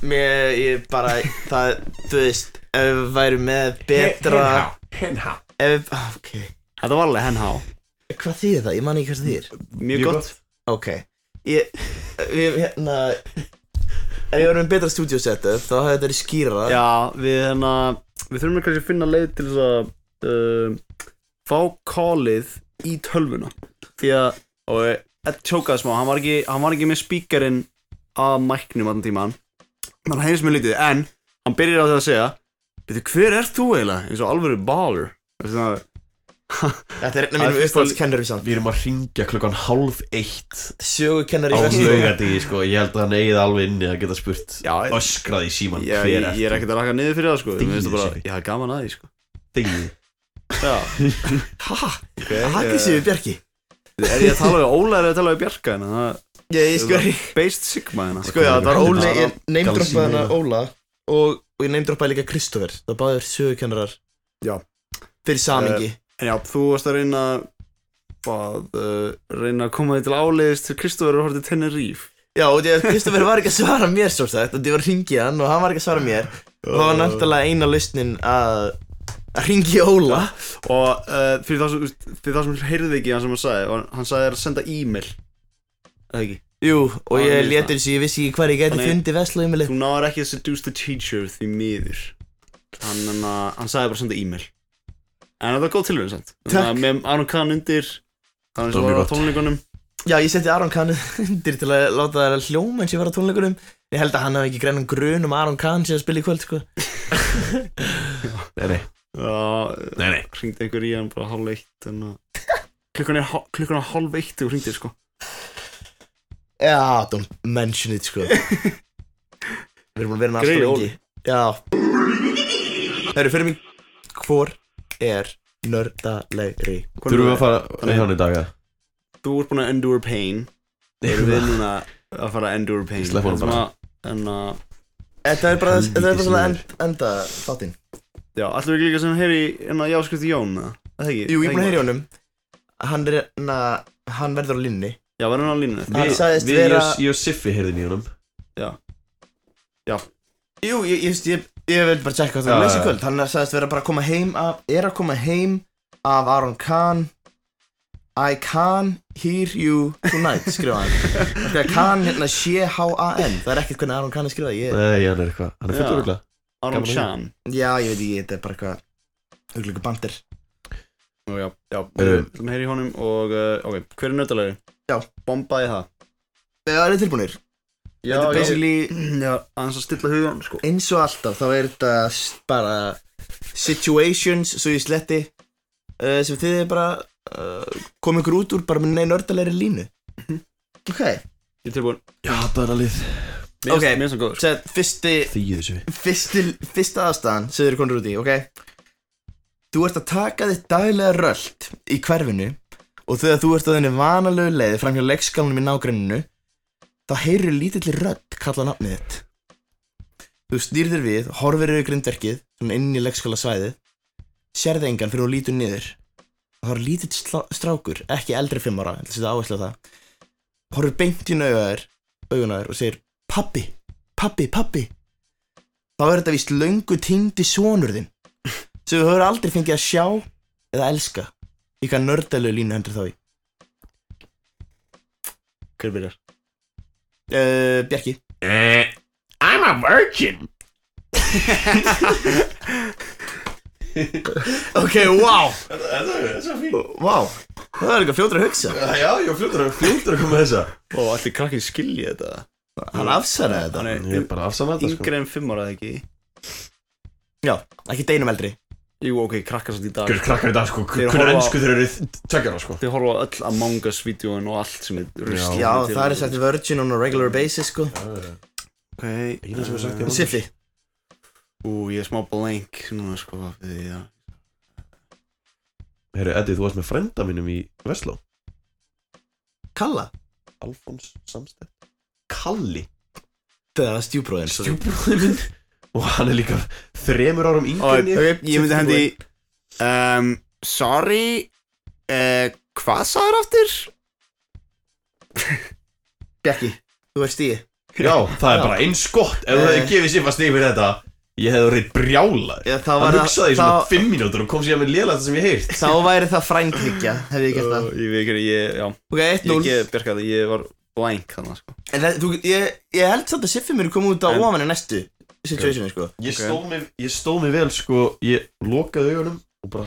D: Mér, ég bara, það, þú veist, ef við værum með betra Ef, við- ah, ok,
C: Þetta var alveg henn há
D: hvað þýðir það? Ég man ekki hvað það þýðir
C: Mjög gott
D: Ok, ég, við, hérna Ef ég værum með betra studio setup, þá hefði þetta verið skýrara
C: Já, við hérna Við þurfum kannski að finna leið til þess að uh, Fá callið í tölvuna Því að Og eh, Ed tjókaði smá Hann var ekki, hann var ekki með spíkarinn Að mæknum allan tíman Þannig að heyrðis mér lítið En hann byrjar á því að segja Veitir, hver er þú eiginlega? Eins og alvöru baller Þannig að
D: Þetta er einn af mínum
B: Það-
D: uppáhaldskennarum samt
B: Við erum að ringja klukkan halv eitt
D: Sögukennari
B: á
D: í Vestló
B: laugandi, sko Ég held að hann eigið alveg inni að geta spurt
C: Já, ég-
B: Öskrað í síman
C: ég,
B: hver
C: ég,
B: er
C: ég er ekkert að raka niður fyrir það sko Mér
B: Dýrið
C: finnst það bara
B: sér.
C: Já, gaman að því sko
B: þig
C: Já,
D: Ha,
C: okay,
D: aggressífi Bjarki
C: ég, Er ég að tala við Óla eða að tala við Bjarka hérna? Það-
D: Ég, ég sko,
C: Based Sigma hérna
D: Sko já, það var Óli,
B: Það var
D: ég neymdroppaði
B: Galsi
D: hana
B: meira.
D: Óla og, og ég neymdroppaði líka Kristoffer Það báðir sögukennarar
C: Já.
D: Fyrir samingi
C: En já, þú varst að reyna að uh, reyna að koma því til áleiðis til Kristofur og horfði Tenerife
D: Já, og því að Kristoffer var ekki að svara mér svo sagt og ég var að ringja hann og hann var ekki að svara mér og það var náttúrulega eina lausnin að að ringja Óla
C: og uh, fyrir, það sem, úst, fyrir það sem heyrði ekki hann sem hann sagði, var- hann sagði þér að senda e-mail eða ekki,
D: Jú, og
C: Já,
D: ég
C: ég veist
D: letur þessu, ég vissi ekki hvað ég gæti
C: Þannig-
D: fundið veslu í
C: þú náður ekki að seduce the teacher því miður hann, hann, hann sagði bara að senda e-mail en þetta var góð tilvæg
D: Takk.
C: með Aron Kahn undir hann
B: var
C: sem var
B: mjög
C: á tónleikunum
D: Já, ég setti Aron Kahn undir til að láta það hljóma eins og ég var á tónleikunum Ég held að hann hafi ekki greinan grun um að Aron Kahn sem að spila í kvöld, sko
B: Nei, nei,
C: Já,
B: nei, nei
C: hringdi einhver í hann bara hálf eitt en, klukkan, er, hál- klukkan er hálf eitt og hringdi sko
D: Já, don't mention it, sko Við erum búin að vera með
C: Greyið
D: allt og lengi Já Herru, fyrir mig Hvor er nördalegri?
B: Þurfum við að fara með hann í dag að
C: Þú ert búin að endure pain Erum við núna að fara að endure pain Hérna,
B: Slepp honum bara.
C: En að
D: Þetta er bara, þetta er bara
B: Helvítis
D: svona
B: maður.
D: end, enda þáttinn
C: Já, alltaf ekki líka sem heyri En að jáskrifti Jón eða? Er Það ekki
D: Jú, ég er búin að heyra í
C: Jón
D: honum Hann er, na, hann verður á linni
C: Já, verður hann á línu
D: Hann sagðist
B: Við, ég
D: vera
B: og- ég og Siffi heyrðum í honum
D: Jú, ég, ég, ég, ég vil bara checka hvað
B: Já,
D: það er leysi
B: já.
D: kvöld Hann sagðist vera bara að koma heim af Er að koma heim af Aron Kahn I can hear you tonight, skrifa hann Það er Kahn hérna C-H-A-N Það er ekkert hvernig Aron Kahn er skrifað ég,
B: Nei, hann er eitthvað, hann er
C: Já.
B: fullur ögla
C: Aron
B: Gaman að
C: Chan
D: Já, ég veit ekki, þetta er bara eitthvað Hugleiku bandir
C: Nú, Já, já
B: Eh.
C: Við viljum heyri í honum Og, uh, ok, hver er nöttalegi?
D: Já.
C: Bombaði það
D: Það eru tilbúinir
C: Já,
D: Þetta er basically
C: Já, aðeins að stilla hugan sko
D: eins og alltaf þá er þetta s- bara situations svo ég sletti uh, sem þið er bara uh, komið ykkur út úr bara með neina ördalegri línu ok,
C: Ég er tilbúin
B: Já, það er að lið
C: Mér
D: Ok.
C: Mér er svo góður sko.
D: sér fyrsti,
B: Þýðu Siffi
D: fyrsti fyrsta aðstæðan sem þið eru konur út í, ok þú ert að taka þitt daglega rölt í hverfinu og þegar þú ert á þenni vanalegu leið framhjá leikskalunum í nágrenninu þá heyrir lítilli rödd kalla nafnið þitt Þú stýrðir við, horfir yfir grindverkið, svona inn í leikskóla svæðið, sérði engan fyrir hún lítur niður. Og Það var lítill slá- strákur, ekki eldri fimm ára, ég ætla að setja áherslu á það. Horfir beint í nauðaður, augunaður og segir, pappi, pappi, pappi. Þá er þetta víst löngu týndi sonur þinn, sem þú hefur aldrei fengið að sjá eða elska. Í hvað nördalegu línu hendur þá í?
C: Hver byrjar?
D: Uh, Bjarki.
A: Eh, I'm a virgin.
D: Ok, wow,
B: Þetta er svo fín
D: wow, það er eitthvað fljótur að hugsa.
B: Já, ég var fljótur að fljótur að koma með þessa
C: Ó, allir krakkinn skilja þetta
D: Hann afsaraði þetta.
C: Hann
B: Ég er
C: er
B: bara afsamað þetta sko
C: yngri en fimm ára eða ekki
D: Já, ekki deinum eldri.
C: Jú, ok, krakkar samt í dag
B: Gjör krakkar í dag sko,
C: Þeir
B: hvernig
C: horfa-
B: ennsku þeir eru tveggjar sko
C: Þið horfa á öll Among Us-vídeóin og allt sem er rusl
D: Já, það er sagt virgin on a regular basis, sko.
B: Eina sem er sagt í
C: uh,
B: honum.
D: Siffi,
C: Ú, ég er smá blank núna sko því, já.
B: Herru, Eddi, þú varst með frenda mínum í Vestló
D: Kalla
B: Alfons Samstedt Kalli
D: Það var stjúbróðin
B: Stjúbróðið minn Og hann er líka þremur árum yngri en
C: Ok, ég myndi hendi í
B: Tilbúin.
C: um, Sorry uh, Hvað sagður aftur?
D: Bjarki, þú ert stíði
B: Já, það er
D: Já.
B: bara eins gott Ef þú hefði
D: Eh.
B: gefið Siffa stig fyrir þetta Ég hefði verið brjálaður
D: Þá
B: Hann
D: var
B: hugsaði í svona
D: þá,
B: fimm mínútur og kom síðan með lélægt sem ég heilt
D: þá væri það frændhyggja, hefði ég gert það
C: Ó, Ég veit ekki, ég, já
D: Ok,
C: Ég
D: 1-0
C: gef Bjarka það, ég var blank þannig sko
D: En það- þú- ég, ég held samt að Siffi mér er komið út á
C: En-
D: ofan en næstu situationi, sko
B: Ég stóð mig, ég stóð mig vel sko Ég lokaði augunum og bara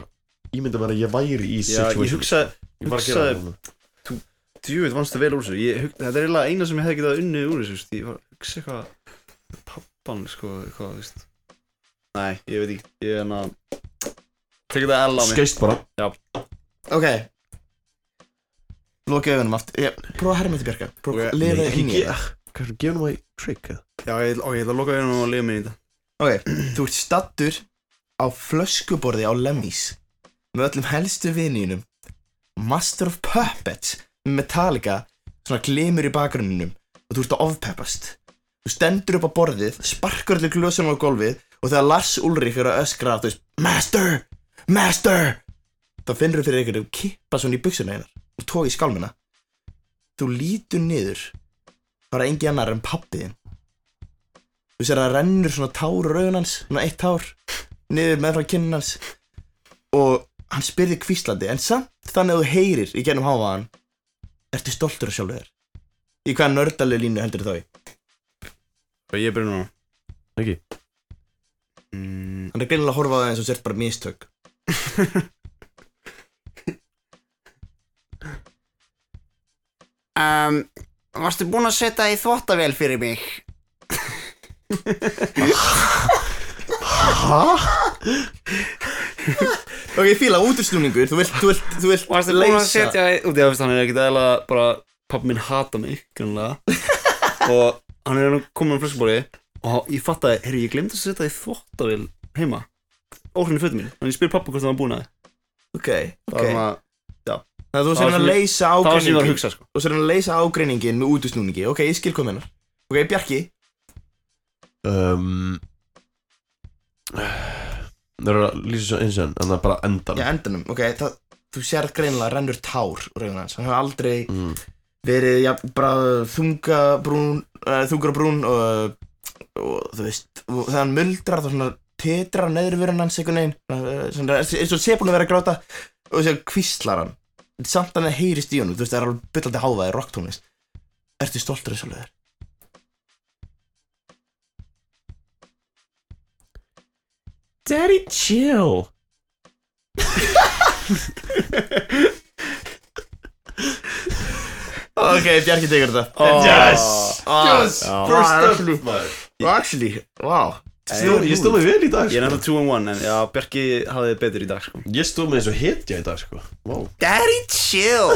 B: Ímynda mér að ég væri í
C: Já,
B: situation
C: ég hugsaði,
B: Ég var að gera
C: hugsaði-
B: það núna.
C: djúið vannst það vel úr þessu Ég hug- Þetta er eiginlega eina sem ég hefði getað unnið úr þessu veist, Ég var að hugsa eitthvað Pappan sko, eitthvað, veist Nei, ég veit ekki, ég er að Tekur það L á mig
B: Skeist bara
D: Ok Loki augunum aftur ég, Prófa að herma til Bjarka Prófa
C: Ok,
D: að lifa
B: Nei, ekki
D: inn í
B: ge-
D: það
B: Hvernig gefur maður trick eða?
C: Já, ég, ok, ég ætla að loka hérna og lifa mér í þetta
D: Ok, þú ert stattur á flöskuborði á Lemmys með öllum helstu vinninum Master of Puppets með Metallica svona glimur í bakgrunninum og þú ert að ofpeppast þú stendur upp á borðið, sparkar allir glösunum á gólfið og þegar Lars Ulrik er að öskra þú veist, Master! Master! þá finnur þú fyrir einhverju kippa svona í buksuna hennar og tói í skálmina þú lítur niður þá er engi annar en pappiðin Þú sér að það rennur svona tár úr augun hans, svona eitt tár, niður meðfram kinn hans og hann spyrði kvíslandi, en samt þannig að þú heyrir í gennum háfaðan, ertu stoltur af sjálfur þér? Í hvaða nördalegu línu heldur þá í?
C: Og ég byrja núna
B: Ekki.
C: mm,
D: Hann er greinilega að horfa á það eins og sért bara mistök.
H: um, Varstu búinn að setja í þvottavél fyrir mig?
D: Ok, ég fíla útusnúningur, þú vilt, þú vilt, þú vilt
C: Varstu búin að setja í- út í aðfist, hann er ekkert eðla bara, pappi minn hata mig, grunlega og hann er komin á flöskubóri og ég fattaði, herri, ég glemdi að setja í þvottavél heima, óhrinn í fötum mín og ég spyr pappa hvort það var búin að
D: Ok, ok
C: það var
D: Þannig að þú
C: Það
D: sér
C: var
D: hann að
C: sem ég-
D: leysa
C: það sem ég var að
D: ágreiningin
C: hugsa, sko
D: Þú sér hann að leysa ágreiningin með útusnúningi Ok, ég skil hvað mennar Ok, Bjarki,
B: um, Það eru að lýsa svo eins og enn Þannig að bara endan
D: já, endanum Ok, það, þú sér að greinilega rennur tár úr augun hans Hann hefur aldrei
B: mm,
D: verið, já, bara þungabrún, uh, þungabrún og, og þú veist, og þegar hann muldrar þá svona titrar neðurvörun hans einhvern veginn, svona, eh, svona, eins og sé búin að vera að gráta og þess að kvíslar hann. Samt hann heyrist í honum, þú veist, það er alveg byllandi háfaði rocktónlist. Ertu stoltur af þessu lögur?
B: Daddy chill
D: Ok, Bjarki tekur þetta.
B: Yes Ah,
D: Yes,
C: first
D: up maður. Actually, wow.
B: Stó, Ég stóð mig vel í dag
C: Ég er
B: sko.
C: náttúrulega 2 and 1 en já, Bjarki hafði betur í dag sko
B: Ég stóð mig eins og hetja í dag sko Wow
H: Daddy chill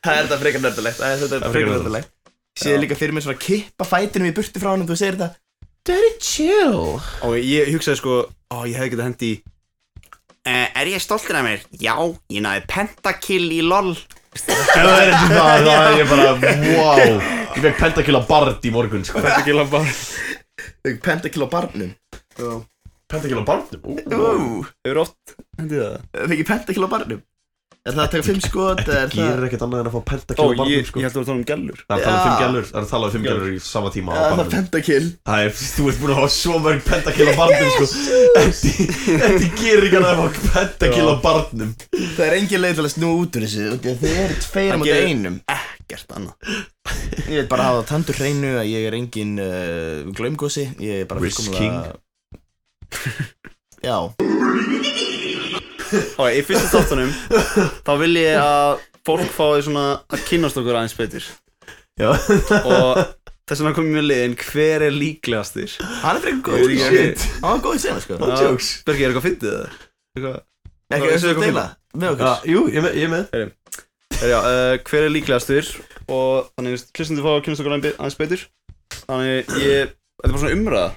D: Það er þetta frekar nördulegt, það er
B: er
D: þetta frekar
B: frekar
D: nördulegt. Ég sé líka fyrir mér svona kippa fætinum í burtu frá hann og þú segir þetta. Daddy chill.
C: Ok, ég hugsaði sko, ó, ég hefði getað hendi í
H: uh, Er ég stoltur af mér? Já, ég náði pentakill í lol
B: Það er þetta það, það er ég bara, wow Ég fekk pentakilla bard í morgun, sko
C: Pentakill af bara
D: Pentakill á barnum
B: Pentakilla bardum, ú
D: Ú,
C: Hefur oft hendi það?
D: Fengi pentakill á barnum Er það að taka fimm skot eða er
B: Það
D: það
B: gerir ekkert annað en að fá
C: Ó,
B: pentakilla
C: ég,
B: bardum,
C: ég
B: sko
C: held að það var um gælur
B: Það er talað um fimm
D: Já.
B: gælur, það er talað um fimm gælur í sama tíma á
D: eða er það
B: barnum
D: pentakill
B: Það er, þú ert búin að hafa svo mörg pentakilla bardum, sko Þetta- Þetta gerir ekki annað en að fá pentakilla bardum
D: Það er engin leið til að snúa út úr þessu út í að Þið eru tveir
C: Það
D: mot
C: gerir-
D: einum
C: Gert annað
D: Ég vil bara hafa það tandur hreinu að ég er engin uh, glaumgósi Ég er bara
B: Risk
D: fullkomlega- Já,
C: Ok, í fyrsta þáttunum Þá vil ég að fólk fái svona að kynnast okkur aðeins betur
B: Já,
C: Og þess vegna komum við með liðin Hver er líklegastir?
D: hann er frekar
C: Ég
D: góð
C: veit ekki.
D: Shit, hann var góð í sena sko
B: No jokes.
C: Björki, er eitthvað fyndið það? Eitthvað
D: Ekki,
C: Já,
D: þessu
C: segðu
D: að deila með
B: Já,
D: okkur
B: jú, ég er með, ég er með
C: Er, já, uh, hver er líklegastur og þannig hlustum fá að kynast okkur aðeins- aðeins betur þannig ég, þetta er bara svona umræða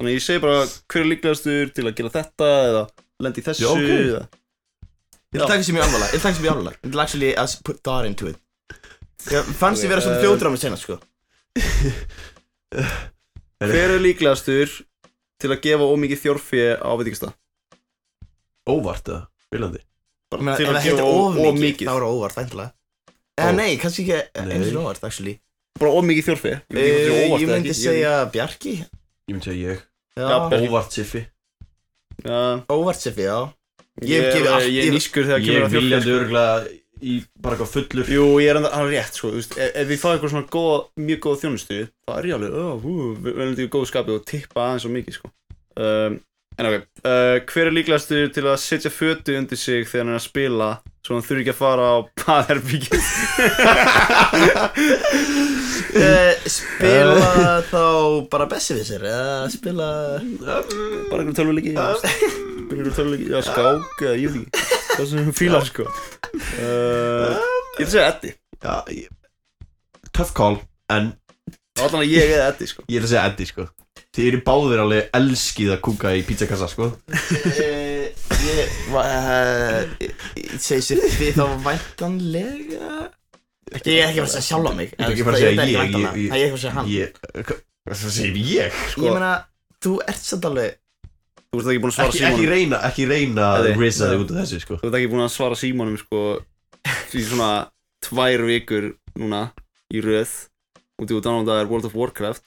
C: þannig ég segi bara hver er líklegastur til að gera þetta eða lendi í þessu
B: Já, ok.
C: eða,
D: Ég vil taka þessu mjög alvarlega, ég vil taka þessu mjög alvarlega Ég vil actually að put that into it Ég fannst ég vera svona
C: um,
D: þjóður á mig sena sko
C: hver er líklegastur til að gefa ómikið þjórfi á veitingasta
B: Óvart, eða, viljandi
D: Ég meina,
C: til að
D: ef það heitir
C: gefa of- of
D: of mikið,
C: mikið.
D: þá er það óvart, væntilega. Eða
B: Ó.
D: nei, kannski ekki eh,
B: Nei.
D: eins og óvart, actually.
C: bara ómikið þjórfi ég, veit ekki hvort
D: Eh,
C: er óvart
D: Ég
C: eða
D: myndi
C: ekki,
D: segja Bjarki.
B: Ég myndi segja ég
D: Já,
C: Já, Bjarki.
B: Óvart Siffi
C: já,
D: óvart Seffi, já.
C: ég,
D: Ég gefi allt-
C: ég, ég
D: ég-
C: er nýskur þegar
B: Ég
C: kemur
B: er
C: að þjórfi
B: viljandi örgulega í bara eitthvað fullur
C: Jú, ég er enda hann er rétt, sko, þú veist, ef, ef við fáum eitthvað svona góð, mjög góð þjónustu, þá er ég alveg, oh, hú, við erum í góðu skapi og tippa aðeins og mikið, sko. Um, en ok, uh, hver er líklegastu til að setja fötu undir sig þegar hann er að spila, svo hann þurfi ekki að fara á baðherbyggið?
D: Eh, Spila þá bara Bessi við sér, eða spila...
C: Bara einhverjum tölvuleiki, spila einhverjum tölvuleiki, já, skák, eða ég veit ekki, það sem hún fílar, sko. Uh, ég ætla að segja Eddi,
B: Já, ég... Tough call, en
C: þá allan að ég eða Eddi, sko.
B: ég er að segja Eddi, sko Þið eru báðir alveg elskið að kúka í pizzakassa, sko
D: Eh, Ég... va- eh, Ég ég segi Seffi þá væntanlega... Ekki, ég er ekki að fara að segja sjálf á mig.
B: Ég er ekki að
D: en
B: fara að
D: ég
B: segja
D: veit
B: ég,
D: væntanlega.
B: ég- ég-
D: Það er ekki að fara að segja hann.
B: Ég... hva- Hvað segir ég?
D: Ég meina, þú ert samt alveg...
C: Þú ert ekki búin að svara
B: Ekki, ekki
C: Símonum,
B: reyna, ekki reyna að
C: Eddi.
B: risa þig út af þessu, sko
C: þú ert ekki búin að svara Símonum, sko, í svona tvær vikur núna í röð út í út annan World of Warcraft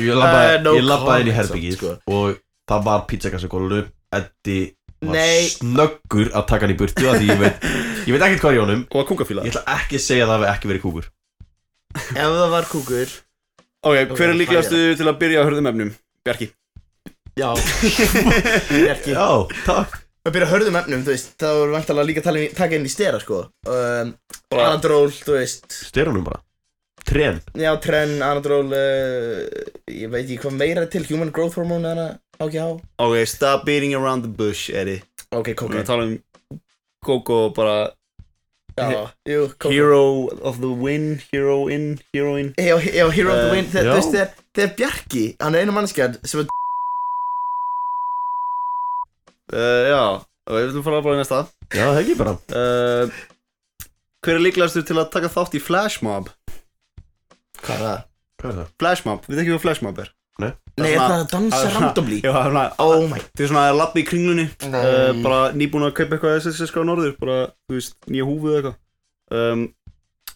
B: Ég labbaði
D: Eh, no
B: ég labbaði inn í
D: comment,
B: herbyggið
D: samt,
B: og það var pizzakassa gólunum Eddi var
D: Nei.
B: snöggur að taka hann í burtu af því ég veit, ég veit ekkert hvað er í honum
C: og að kúkafíla
B: Ég ætla ekki að segja að það hafi ekki verið kúkur
D: Ef það var kúkur...
C: Ok, hver er
D: Ok,
C: líklegastu til að byrja á hörðum efnum? Bjarki
D: Já, Bjarki.
B: Já, takk
D: að byrja að hörðum efnum, þú veist, þá erum við vantalega líka að tala, um- taka inn í stera, sko. Um, Anadról, þú veist,
B: Styrunum bara Tren
D: já, tren, anadról, uh, ég veit ekki hvað meira er til, human growth hormone eða HGH.
C: Ok, stop beating around the bush, Eddie
D: Ok,
C: Við erum
D: kokain.
C: að tala um Coco bara
D: Já, jú, kokain.
C: Hero of the win, hero in, heroin
D: Já, já, hero of the
C: Eh,
D: wind, þegar,
B: já.
D: þú veist, þegar, þegar Bjarki, hann er einu mannskjæð sem er
C: uh, Já, ok, við viljum fara bara í næsta
B: Já, það er ekki bara
C: uh, Hver er líklegastur til að taka þátt í flashmob?
D: Hvað er það?
B: Hvað er það?
C: Flashmob, við ekki hvað flashmob er
D: Nei,
C: svona-
D: það er að dansa
C: að-
D: randomly.
C: Já, það er svona
D: Oh my
C: Þið er svona að labba í kringlunni uh,
D: Nei.
C: Bara nýbúin að kaupa eitthvað SSS á norður Bara, þú veist, nýja húfuð eitthvað um,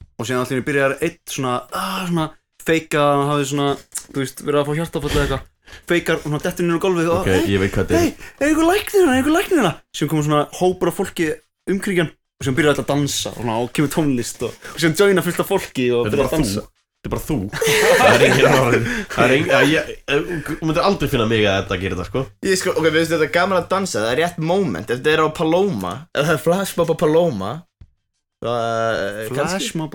C: Og síðan allir byrjar eitt svona, ah, svona Feika, hann hafi svona, þú veist, verið að fá hjartafallega eitthvað Feikar, svona dettur niður á golfið og "Ah,
B: Ok, ég veit hvað þetta
C: Hei, er einhver læknir hérna, er einhver læknir hérna sem komur svona hópur af fólki umkringjan og sem byrjar alltaf að dansa og, svona, og kemur tónlist og, og sem joina fullt af fólki og
B: er Þetta er
C: byrjar að
B: bara þú
C: dansa
B: Þetta er bara þú Það er enginn orðin Það er enginn að ég- að- Þú myndir aldrei finna mig að þetta gera þetta sko
D: Ég sko, ok, við veist þetta er gaman að dansa, það er rétt moment, ef þetta er á Paloma, ef það er flashmob á Paloma Það er kannski,
C: Flashmob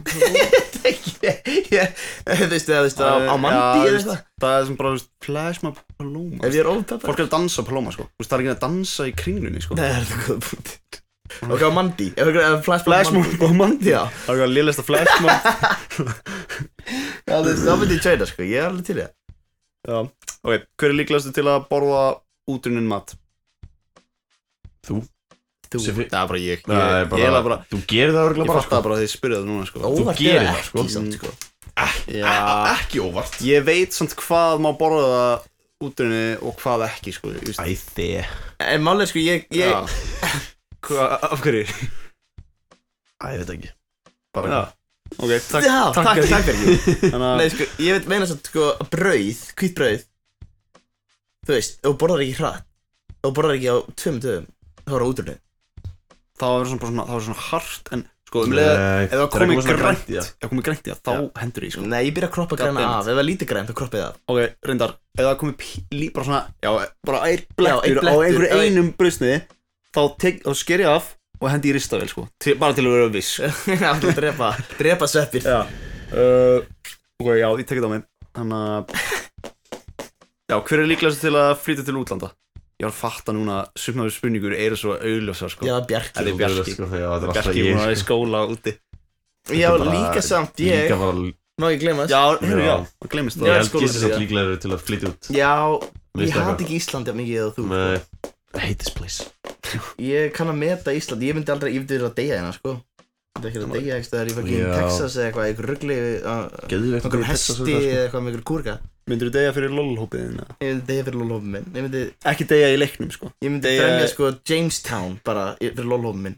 D: ég, ég, þú veist það, þú veist það, á- á
C: Já,
D: Mandi eða
C: þú veist,
D: eitthvað
C: Það er sem bara þú veist, Flashmob Paloma
D: Ef ég er ópeppar
C: Fólk er að dansa Paloma sko Þú veist, Það er ekki að dansa í kringlunni sko
D: Nei, það er það góða punktir Ok, eh, á Mandi, ef það er flashmob á Mandi
C: Flashmob Paloma
D: Já,
C: Það er ekki að liðlista Flashmob
D: já, þú veist, þá myndi ég tjöna, sko, ég er alveg til í það
C: Já, ok Hver er líklastu til að borða útrunnin mat?
B: Þú
D: Þú,
B: Sem við-
C: Það er bara ég Ég,
B: Það er
C: ég, ég, bara,
B: Þú gerir það
C: ég
B: örgulega bara
C: fatt
B: sko
C: það bara því spyrjaðu núna sko
D: óvart
B: gerir
D: er
B: það, sko.
D: ekki samt, sko
C: Já
B: Ekki óvart
C: Ég veit samt hvað má borða útrunni og hvað ekki, sko. ég veist.
B: Æ, þið
D: En málið, er, sko, ég, ég,
C: Já. Hva, af hverju?
B: Æ, ég veit ekki
C: Já.
B: Bara
C: Ok, takk.
D: já, takk,
C: fyrir.
D: takk fyrir
C: Þannig að,
D: Nei, sko, ég veit meina samt, sko, að brauð, hvít brauð Þú veist, ef þú borðar ekki hratt Ef þú borðar ekki á tveim dögum Þá er það útrunni
C: þá er svona, bara svona, þá er svona hart, en sko, um leiða,
B: Nei,
C: ef
B: er
C: það
B: að
C: komið
B: koma svona
C: grænt,
B: í það.
C: ef það komið grænt í það, þá hendur ég, sko.
D: Nei, ég byrja að kroppa græna
C: Goddammit.
D: af Ef það er lítið grænt, þá kroppið af
C: Ok, reyndar, ef það komið pí- lí, bara svona, já, bara eir blettur á
D: einn blettur,
C: einhverju
D: já, einn-
C: einum brustniði, þá, tek- þá sker ég af og hendi í ristavél, sko, til, bara til að vera viss. sko.
D: Það er að drepa, drepa sveppir
C: Já uh, Ok, já, ég tekið það á mig Þannig að Já, hver er líklegast til að flytja til útlanda? Ég var að fatta núna að Sumnaður spurningur eru svo auðljósar sko
D: Já, Bjarki
C: Það er Bjarki.
B: Sko, já, þetta er alltaf
C: Bjarki
B: ég
C: búin að vera í
B: sko.
C: skóla úti
B: Þetta
D: Já,
B: er bara-
D: líka samt ég
B: Líka bara
D: Má ég glemast
C: Já, heyrðu,
B: Já.
C: já, það glemist
B: Ég
C: það
B: held
D: skólanum
B: gísið samt
D: líka.
B: líklega til að flytja út
D: Já,
B: Mér
D: ég
B: finnst
D: hati
B: eitthvað.
D: ekki Íslandi af mikið eða þú
B: Nei I hate this place
D: Ég kann að meta Íslandi, ég myndi aldrei, ég myndi vera að deyja hérna, sko Ég myndi ekki að deyja ekki stöðar í fucking
B: Já.
D: Texas eða eitthvað, eitthvað ruggli Eitthvað
B: Geðu veit
D: hesti
B: sko.
D: eða eitthvað með eitthvað kúrka
C: Myndur þú degja fyrir lol-hópið þinn? eða?
D: Ég myndi deyja fyrir lólhófum minn Ég myndi,
C: Ekki degja í leiknum sko
D: ég myndi
C: Deyja-
D: fremja sko Jamestown bara í- fyrir lólhófum minn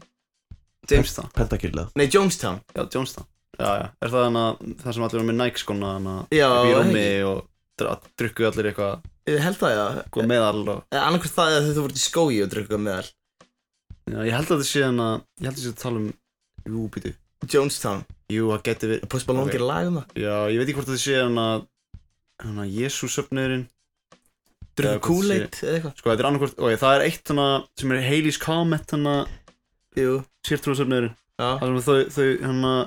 C: Jamestown
B: Pentakilla
D: Nei, Jonestown
C: Já, Jonestown Já, já, er það hann að það sem allir var með Nike skona hann að
D: Já,
C: upp í rúmi
D: ekki.
C: og dra- drukku allir eitthvað
D: Ég held það, já
C: eitthvað meðal og
D: Annarkvæmt Eh, það eða þau voru í skói og drukka meðal
C: Já, ég held að það sé hann að ég held að það sé að tala um Jú, býtu
D: Jonestown
C: Jú, það geti verið
D: Post Malone
C: Ok.
D: gerir lag um það
C: Já, ég veit ekki hvort það sé hann að hérna, hann að Jésúsöfnurinn
D: Drukka
C: Já, hérna hvort
D: Kool-Aid eða eitthvað
C: sko þetta er annarkvort, ok, það er eitt hann að sem er Hades Comet hann að
D: Jú,
C: sértrúasöfnurinn
D: já
C: þar sem þau, þau hann að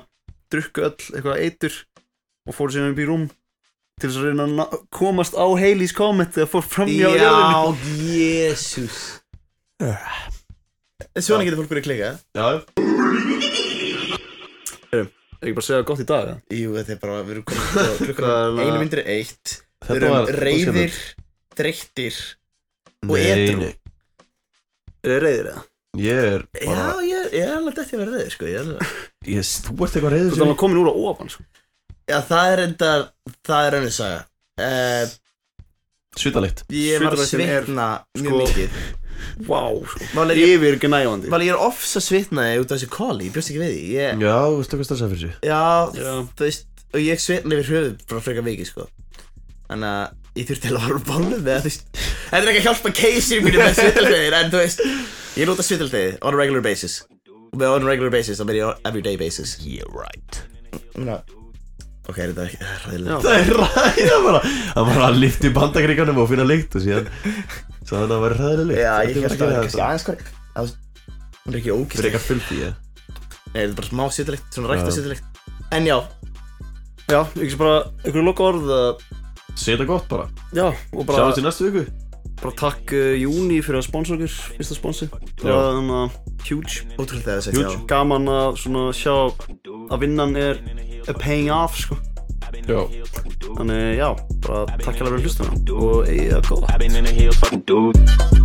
C: drukku öll eitthvað eitur og fóru síðan upp í rúm til þess að reyna að ná- komast á Hades Comet þegar fór fram hjá jörðinni
D: Já, jésús Eh, Svona getur fólk verið að klika
B: Já
C: Ekki bara segja gott í dag, eða?
D: Jú, þetta er bara, við erum komin klukkan
C: Þarna-
D: einu myndri eitt Við
B: Þetta
D: erum
B: var
D: reyðir, dreyttir og
B: Nei,
D: edrú.
B: nei.
C: Er það reyðir eða?
B: Ég er
D: Já,
B: bara
D: ég, ég er alveg dætti að vera reyðir, sko ég er alveg-
B: ég, Þú ert eitthvað
C: Þú
B: reyður
C: veist, hann var komin úr á ofan, sko
D: Já, það er enda, það er önnur saga uh,
B: Svitalikt
D: Ég var að
C: Svitalætin er,
D: svitna mjög
C: sko,
D: mikið
C: Vá, sko
D: Máli er ég,
C: Yfir gnæfandi
D: máli ég er ofs að svitnaði út af þessu kóli, ég bjóst ekki við því ég,
B: Já, þú veist eitthvað stressað fyrir sig
D: Já,
C: Já.
D: þú veist, og ég svitna yfir höfuð bara frekar mikið, sko Þannig að ég þurfti til að horfa bálum með, þú veist Þetta er ekki að hjálpa keisir mínu með svitaldegir, en þú veist Ég lúta svitaldegi on a regular basis Og með on a regular basis, þá meir ég on everyday basis
B: Yeah, right
D: No. Ok, er þetta ekki ræðilegt?
B: Það er ræða bara Það var að lifta í bandakrikanum og finna lykt og síðan Svo þannig að það var ræðilega
D: Já, ég held að það er kannski aðeins hvað
I: það, hún er ekki ókist
B: Fyrir eitthvað fylgdi ég
I: Nei, þetta er bara smá sýtulegt, svona rækta
B: Já.
I: sýtulegt En já,
C: Já, ekki sem bara einhverju loka orð að-
B: Seta gott bara
C: Já, og bara
B: Sjáumst í næstu viku
C: bara takk uh, Júni fyrir að sponsa okkur fyrsta sponsi það var þannig að huge
I: ótrúlega þegar að segja já
C: gaman að svona sjá að vinnan er er paying off sko
B: Já
C: þannig já, bara takk alveg fyrir hlustuna og eigið að góða
A: I've been in the hills, fucking dude.